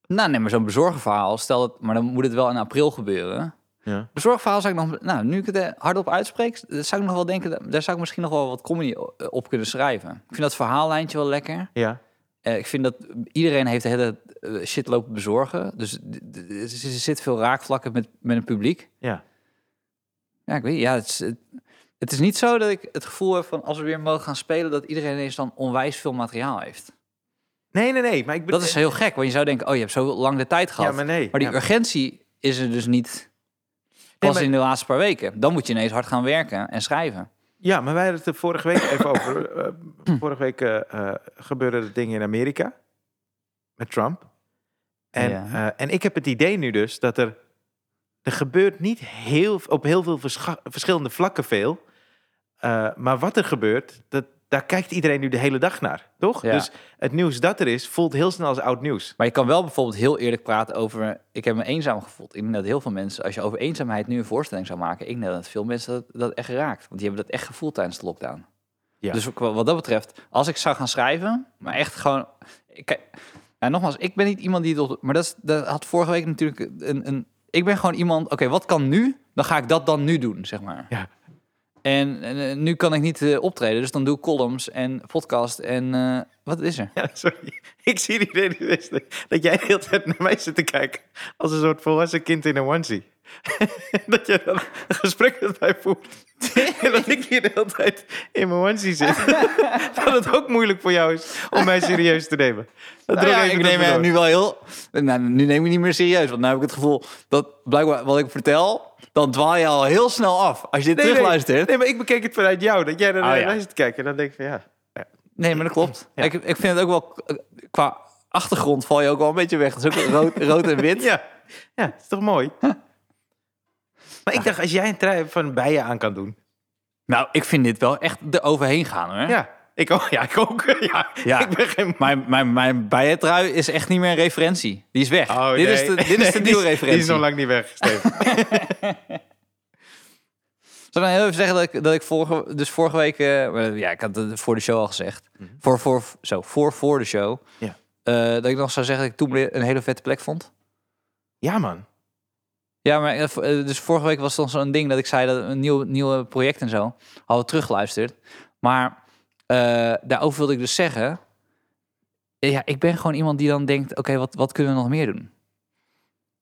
Nou, neem maar zo'n bezorgerverhaal. Stel dat, maar dan moet het wel in april gebeuren. Ja. Bezorgverhaal zou ik nog, nou, nu ik het eh, hardop uitspreek, zou ik nog wel denken, dat- daar zou ik misschien nog wel wat comedy eh, op kunnen schrijven. Ik vind dat verhaallijntje wel lekker. Ja. Eh, ik vind dat iedereen heeft de hele eh, shit lopen bezorgen. Dus d- d- er zit veel raakvlakken met, met het publiek. Ja. Ja, ik weet ja, het, is, het, het is niet zo dat ik het gevoel heb van als we weer mogen gaan spelen, dat iedereen ineens dan onwijs veel materiaal heeft. Nee, nee, nee. Maar ik bedoel- Dat is heel gek, want je zou denken, oh, je hebt zo lang de tijd gehad. Ja, maar nee. Maar die Ja. urgentie is er dus niet pas maar- in de laatste paar weken. Dan moet je ineens hard gaan werken en schrijven. Ja, maar wij hadden het er vorige week even over. Eh, vorige week eh eh, gebeurden er dingen in Amerika met Trump. En, Ja. eh, en ik heb het idee nu dus dat er. Er gebeurt niet heel, op heel veel verscha- verschillende vlakken veel. Eh, maar wat er gebeurt, dat, daar kijkt iedereen nu de hele dag naar, toch? Ja. Dus het nieuws dat er is, voelt heel snel als oud nieuws. Maar je kan wel bijvoorbeeld heel eerlijk praten over... Ik heb me eenzaam gevoeld. Ik denk dat heel veel mensen, als je over eenzaamheid nu een voorstelling zou maken... Ik denk dat veel mensen dat, dat echt raakt. Want die hebben dat echt gevoeld tijdens de lockdown. Ja. Dus ook wa- wat dat betreft, als ik zou gaan schrijven... Maar echt gewoon... Kijk, nou, nogmaals, ik ben niet iemand die... het op- maar dat, is- dat had vorige week natuurlijk een... een ik ben gewoon iemand... Oké, wat kan nu? Dan ga ik dat dan nu doen, zeg maar. Ja. En, en, eh, nu kan ik niet eh, optreden, dus dan doe ik columns en podcast en... eh, wat is er? Ja, sorry. Ik zie iedereen nu eens dat- dat jij de hele tijd naar mij zit te kijken. Als een soort volwassen kind in een onesie. dat je dan een gesprek met mij voert. en dat ik hier de hele tijd in mijn onesie zit. dat het ook moeilijk voor jou is om mij serieus te nemen. Dat Nou druk ja, even ik door neem me hem door. nu wel heel. Nou, nu neem ik niet meer serieus. Want nu heb ik het gevoel dat blijkbaar wat ik vertel, dan dwaal je al heel snel af. Als je dit Nee, nee, terugluistert. nee, maar ik bekeek het vanuit jou. Dat jij naar Oh, mij ja. zit te kijken. En dan denk ik van ja. Nee, maar dat klopt. Ik, ik vind het ook wel. Qua achtergrond val je ook wel een beetje weg. Het is ook rood, rood en wit. Ja, ja het is toch mooi? maar ik dacht, als jij een trui van bijen aan kan doen. Nou, ik vind dit wel echt eroverheen gaan hoor. Ja, ik ook. Ja, ik ook. ja, Ja. ik ben geen Mijn, mijn, mijn bijentrui is echt niet meer een referentie. Die is weg. dit, is de, Oh, nee. dit Oh, is de Nee, nieuwe die referentie. Die is nog lang niet weg, Steven. Zal ik dan heel even zeggen dat ik, dat ik vorige, dus vorige week... eh, maar ja, ik had het voor de show al gezegd. voor, voor, zo, voor voor de show. Ja. Eh, dat ik nog zou zeggen dat ik toen een hele vette plek vond. ja, man. Ja, maar eh, v- eh, dus vorige week was dan zo'n ding dat ik zei dat een nieuw, nieuwe project en zo hadden we teruggeluisterd. Maar eh, daarover wilde ik dus zeggen. eh, Ja, ik ben gewoon iemand die dan denkt: oké, wat, wat kunnen we nog meer doen?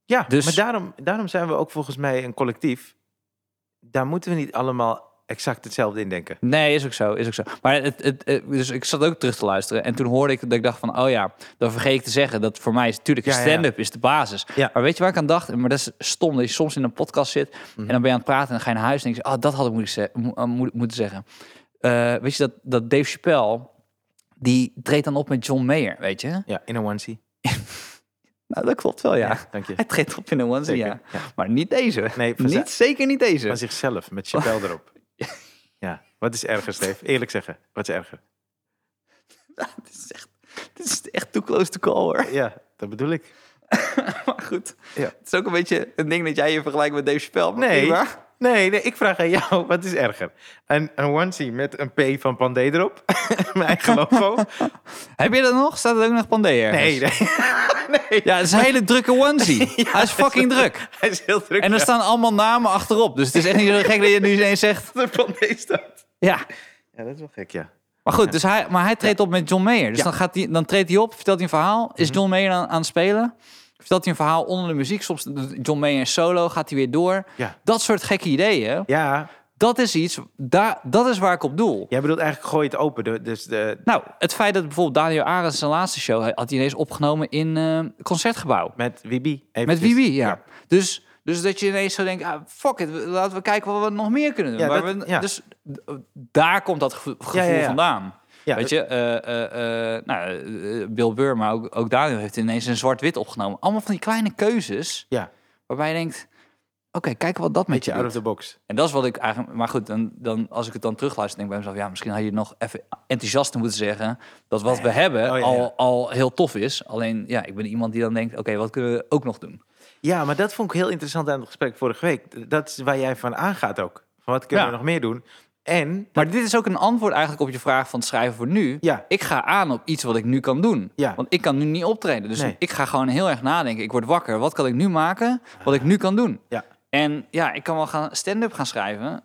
Ja, Dus- maar daarom, daarom zijn we ook volgens mij een collectief. Daar moeten we niet allemaal exact hetzelfde in denken. Nee, is ook zo, is ook zo. Maar het, het, het- dus ik zat ook terug te luisteren en toen hoorde ik dat ik dacht van, oh ja, dan vergeet ik te zeggen dat voor mij is natuurlijk Ja, ja, ja. stand-up is de basis. Ja. Maar weet je waar ik aan dacht? Maar dat is stom dat je soms in een podcast zit en dan ben je aan het praten en dan ga je naar huis en denk je, oh, dat had ik moeten, ze- mo- eh, mo- moeten zeggen. Eh, weet je dat, dat Dave Chappelle, die treedt dan op met John Mayer, weet je? Ja, in een onesie. Nou, dat klopt wel, ja. Dank je. Hij treedt op in een onesie, Zeker, ja. Maar niet deze. Nee, van niet, zeker niet deze. Van zichzelf, met Chappelle erop. Ja, wat is erger, Steve? Eerlijk zeggen, wat is erger? dit, is echt, dit is echt too close to call, hoor. Ja, dat bedoel ik. Maar goed, Ja. het is ook een beetje een ding dat jij je vergelijkt met Dave Chappelle. maar Nee, prima. Nee, nee, ik vraag aan jou, wat is erger? Een, een onesie met een P van Pandé erop? Mijn eigen logo? Heb je dat nog? Staat er ook nog Pandé ergens? Nee, nee. nee. Ja, het is een hele drukke onesie. Hij is fucking druk. Hij is heel druk. En er ja, staan allemaal namen achterop. Dus het is echt niet zo gek dat je nu ineens zegt... dat er Pandé staat. Ja, Ja, dat is wel gek, ja. maar goed. Dus hij, maar hij treedt op met John Mayer. Dus Ja. dan, gaat hij, dan treedt hij op, vertelt hij een verhaal. Is John Mayer aan, aan het spelen? Vertelt hij een verhaal onder de muziek? Soms doet John Mayer een solo, gaat hij weer door. Ja. Dat soort gekke ideeën. Ja, Dat is iets, daar, dat is waar ik op doel. jij bedoelt eigenlijk gooi het open. de- Dus de, Nou, het feit dat bijvoorbeeld Daniel Arends zijn laatste show... had hij ineens opgenomen in eh, Concertgebouw. met Wibi. Met eventjes. Wiwi, ja. Dus, dus dat je ineens zo denkt, ah, fuck it, we- laten we kijken wat we nog meer kunnen doen. Ja, Waar dat- we- ja. Dus d- daar komt dat gevo- gevoel ja, ja. vandaan. Ja, Weet je, eh, eh, eh, nou, eh, Bill Burr, maar ook, ook Daniel heeft ineens een zwart-wit opgenomen. Allemaal van die kleine keuzes Ja, waarbij je denkt, oké, kijk wat dat met je out of doet. the box. En dat is wat ik eigenlijk... Maar goed, dan, dan, als ik het dan terugluister, denk ik bij mezelf... ja, misschien had je nog even enthousiast moeten zeggen... dat wat we hebben Oh, ja, ja. Al, al heel tof is. Alleen, ja, ik ben iemand die dan denkt... oké, wat kunnen we ook nog doen? Ja, maar dat vond ik heel interessant aan het gesprek vorige week. Dat is waar jij van aangaat ook. Van wat kunnen Ja. we nog meer doen? En, Maar dit is ook een antwoord eigenlijk op je vraag van het schrijven voor nu. Ja. Ik ga aan op iets wat ik nu kan doen. Ja. Want ik kan nu niet optreden. Dus Nee. ik ga gewoon heel erg nadenken. Ik word wakker. Wat kan ik nu maken? Wat ik nu kan doen. ja, En ja, ik kan wel gaan stand-up gaan schrijven.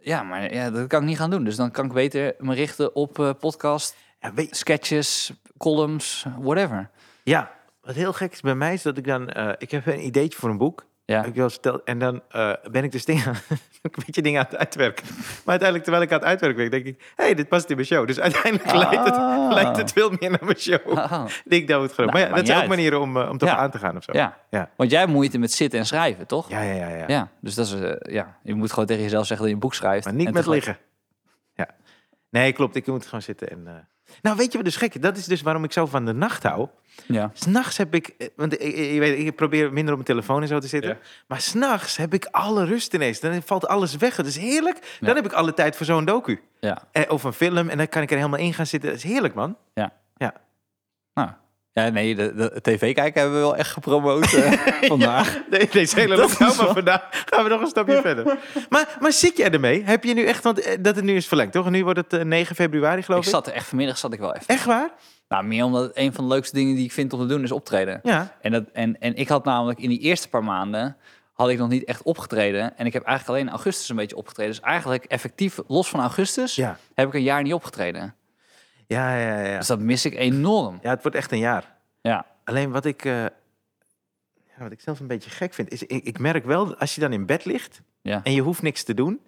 Ja, maar ja, dat kan ik niet gaan doen. Dus dan kan ik beter me richten op eh, podcast, ja, weet, sketches, columns, whatever. Ja, wat heel gek is bij mij is dat ik dan... eh, ik heb een ideetje voor een boek. Ja. Heb ik wel eens verteld. En dan eh, ben ik dus dingen, aan- een beetje dingen aan het uitwerken. Maar uiteindelijk, terwijl ik aan het uitwerken ben, denk ik... Hé, hey, dit past in mijn show. Dus uiteindelijk lijkt, Ah. het, lijkt het veel meer naar mijn show. Oh. Die ik daar moet gebruiken. maar ja, maakt dat niet zijn ook uit. manieren om, eh, om toch Ja. aan te gaan of zo. Ja. Ja. Want jij hebt moeite met zitten en schrijven, toch? Ja, ja, ja. ja. Ja, dus dat is, eh, ja, je moet gewoon tegen jezelf zeggen dat je een boek schrijft. Maar niet en met tegelijk- liggen. Ja. Nee, klopt. Ik moet gewoon zitten en... eh. Nou, weet je wat dus gek is? Dat is dus waarom ik zo van de nacht hou. Ja. S'nachts heb ik, eh, want ik- ik- je weet, ik probeer minder op mijn telefoon en zo te zitten. Ja. Maar s'nachts heb ik alle rust ineens. Dan valt alles weg. Het is heerlijk. Ja. Dan heb ik alle tijd voor zo'n docu. ja. Eh, of een film. En dan kan ik er helemaal in gaan zitten. Dat is heerlijk, man. Nou, ja, nee, de, de tv kijken hebben we wel echt gepromoot eh, vandaag. Nee, Deze hele Dat lockdown. is wel- Maar vandaag gaan we nog een stapje verder. Maar, maar zit jij ermee? Heb je nu echt, want eh, dat het nu is verlengd, toch? Nu wordt het eh, 9 februari, geloof Ik ik. zat er echt vanmiddag zat ik wel even. Echt waar? Nou, meer omdat het een van de leukste dingen die ik vind om te doen is optreden. Ja. En, dat, en, en ik had namelijk in die eerste paar maanden had ik nog niet echt opgetreden. En ik heb eigenlijk alleen in augustus een beetje opgetreden. Dus eigenlijk effectief, los van augustus, Ja, heb ik een jaar niet opgetreden. ja, ja. ja, ja. Dus dat mis ik enorm. ja het wordt echt een jaar. Ja, Alleen wat ik, eh, ja, wat ik zelf een beetje gek vind, is ik, ik merk wel dat als je dan in bed ligt Ja. en je hoeft niks te doen,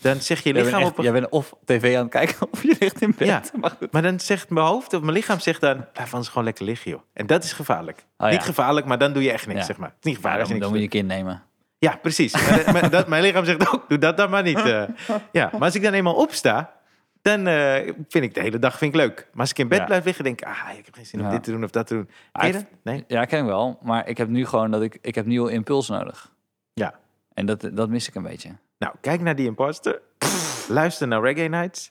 dan zegt je jij lichaam bent, echt- op een- jij bent of tv aan het kijken of je ligt in bed. Ja. Maar goed. Maar dan zegt mijn hoofd of mijn lichaam zegt dan, blijf anders gewoon lekker liggen joh. En dat is gevaarlijk. Oh ja. Niet gevaarlijk, maar dan doe je echt niks Ja. zeg maar. Het is niet Ja, gevaarlijk als je dan, dan niks moet je doet. een kind nemen. Ja, precies. Maar- maar dat, mijn lichaam zegt ook, doe dat dan maar niet. eh. ja, maar als ik dan eenmaal opsta, dan eh, vind ik de hele dag vind ik leuk. Maar als ik in bed Ja. blijf liggen, denk ik, ah, ik heb geen zin Ja. om dit te doen of dat te doen. Ken je Ah, ik- dat? Nee? Ja, ken ik wel. Maar ik heb nu gewoon dat ik, ik heb nieuwe impuls nodig. Ja. En dat, dat mis ik een beetje. Nou, kijk naar die imposter. Luister naar Reggae Nights.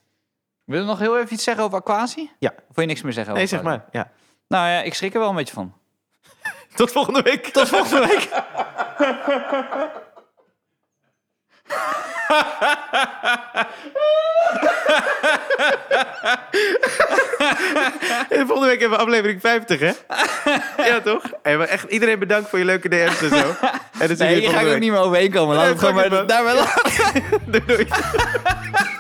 Wil je nog heel even iets zeggen over Aquasi? Ja. Of wil je niks meer zeggen Nee, over zeg Aquasi? maar. Ja. Nou ja, ik schrik er wel een beetje van. Tot volgende week. Tot volgende week. En volgende week hebben we aflevering 50, hè? Ja, toch? Hey, maar echt, iedereen bedankt voor je leuke DM's en zo. En dan zie je Nee, jullie hier ga volgende ik ook week. niet meer overheen komen. Laat Nee, het gewoon fuck maar it, man. daarbij laten. Doei, doei.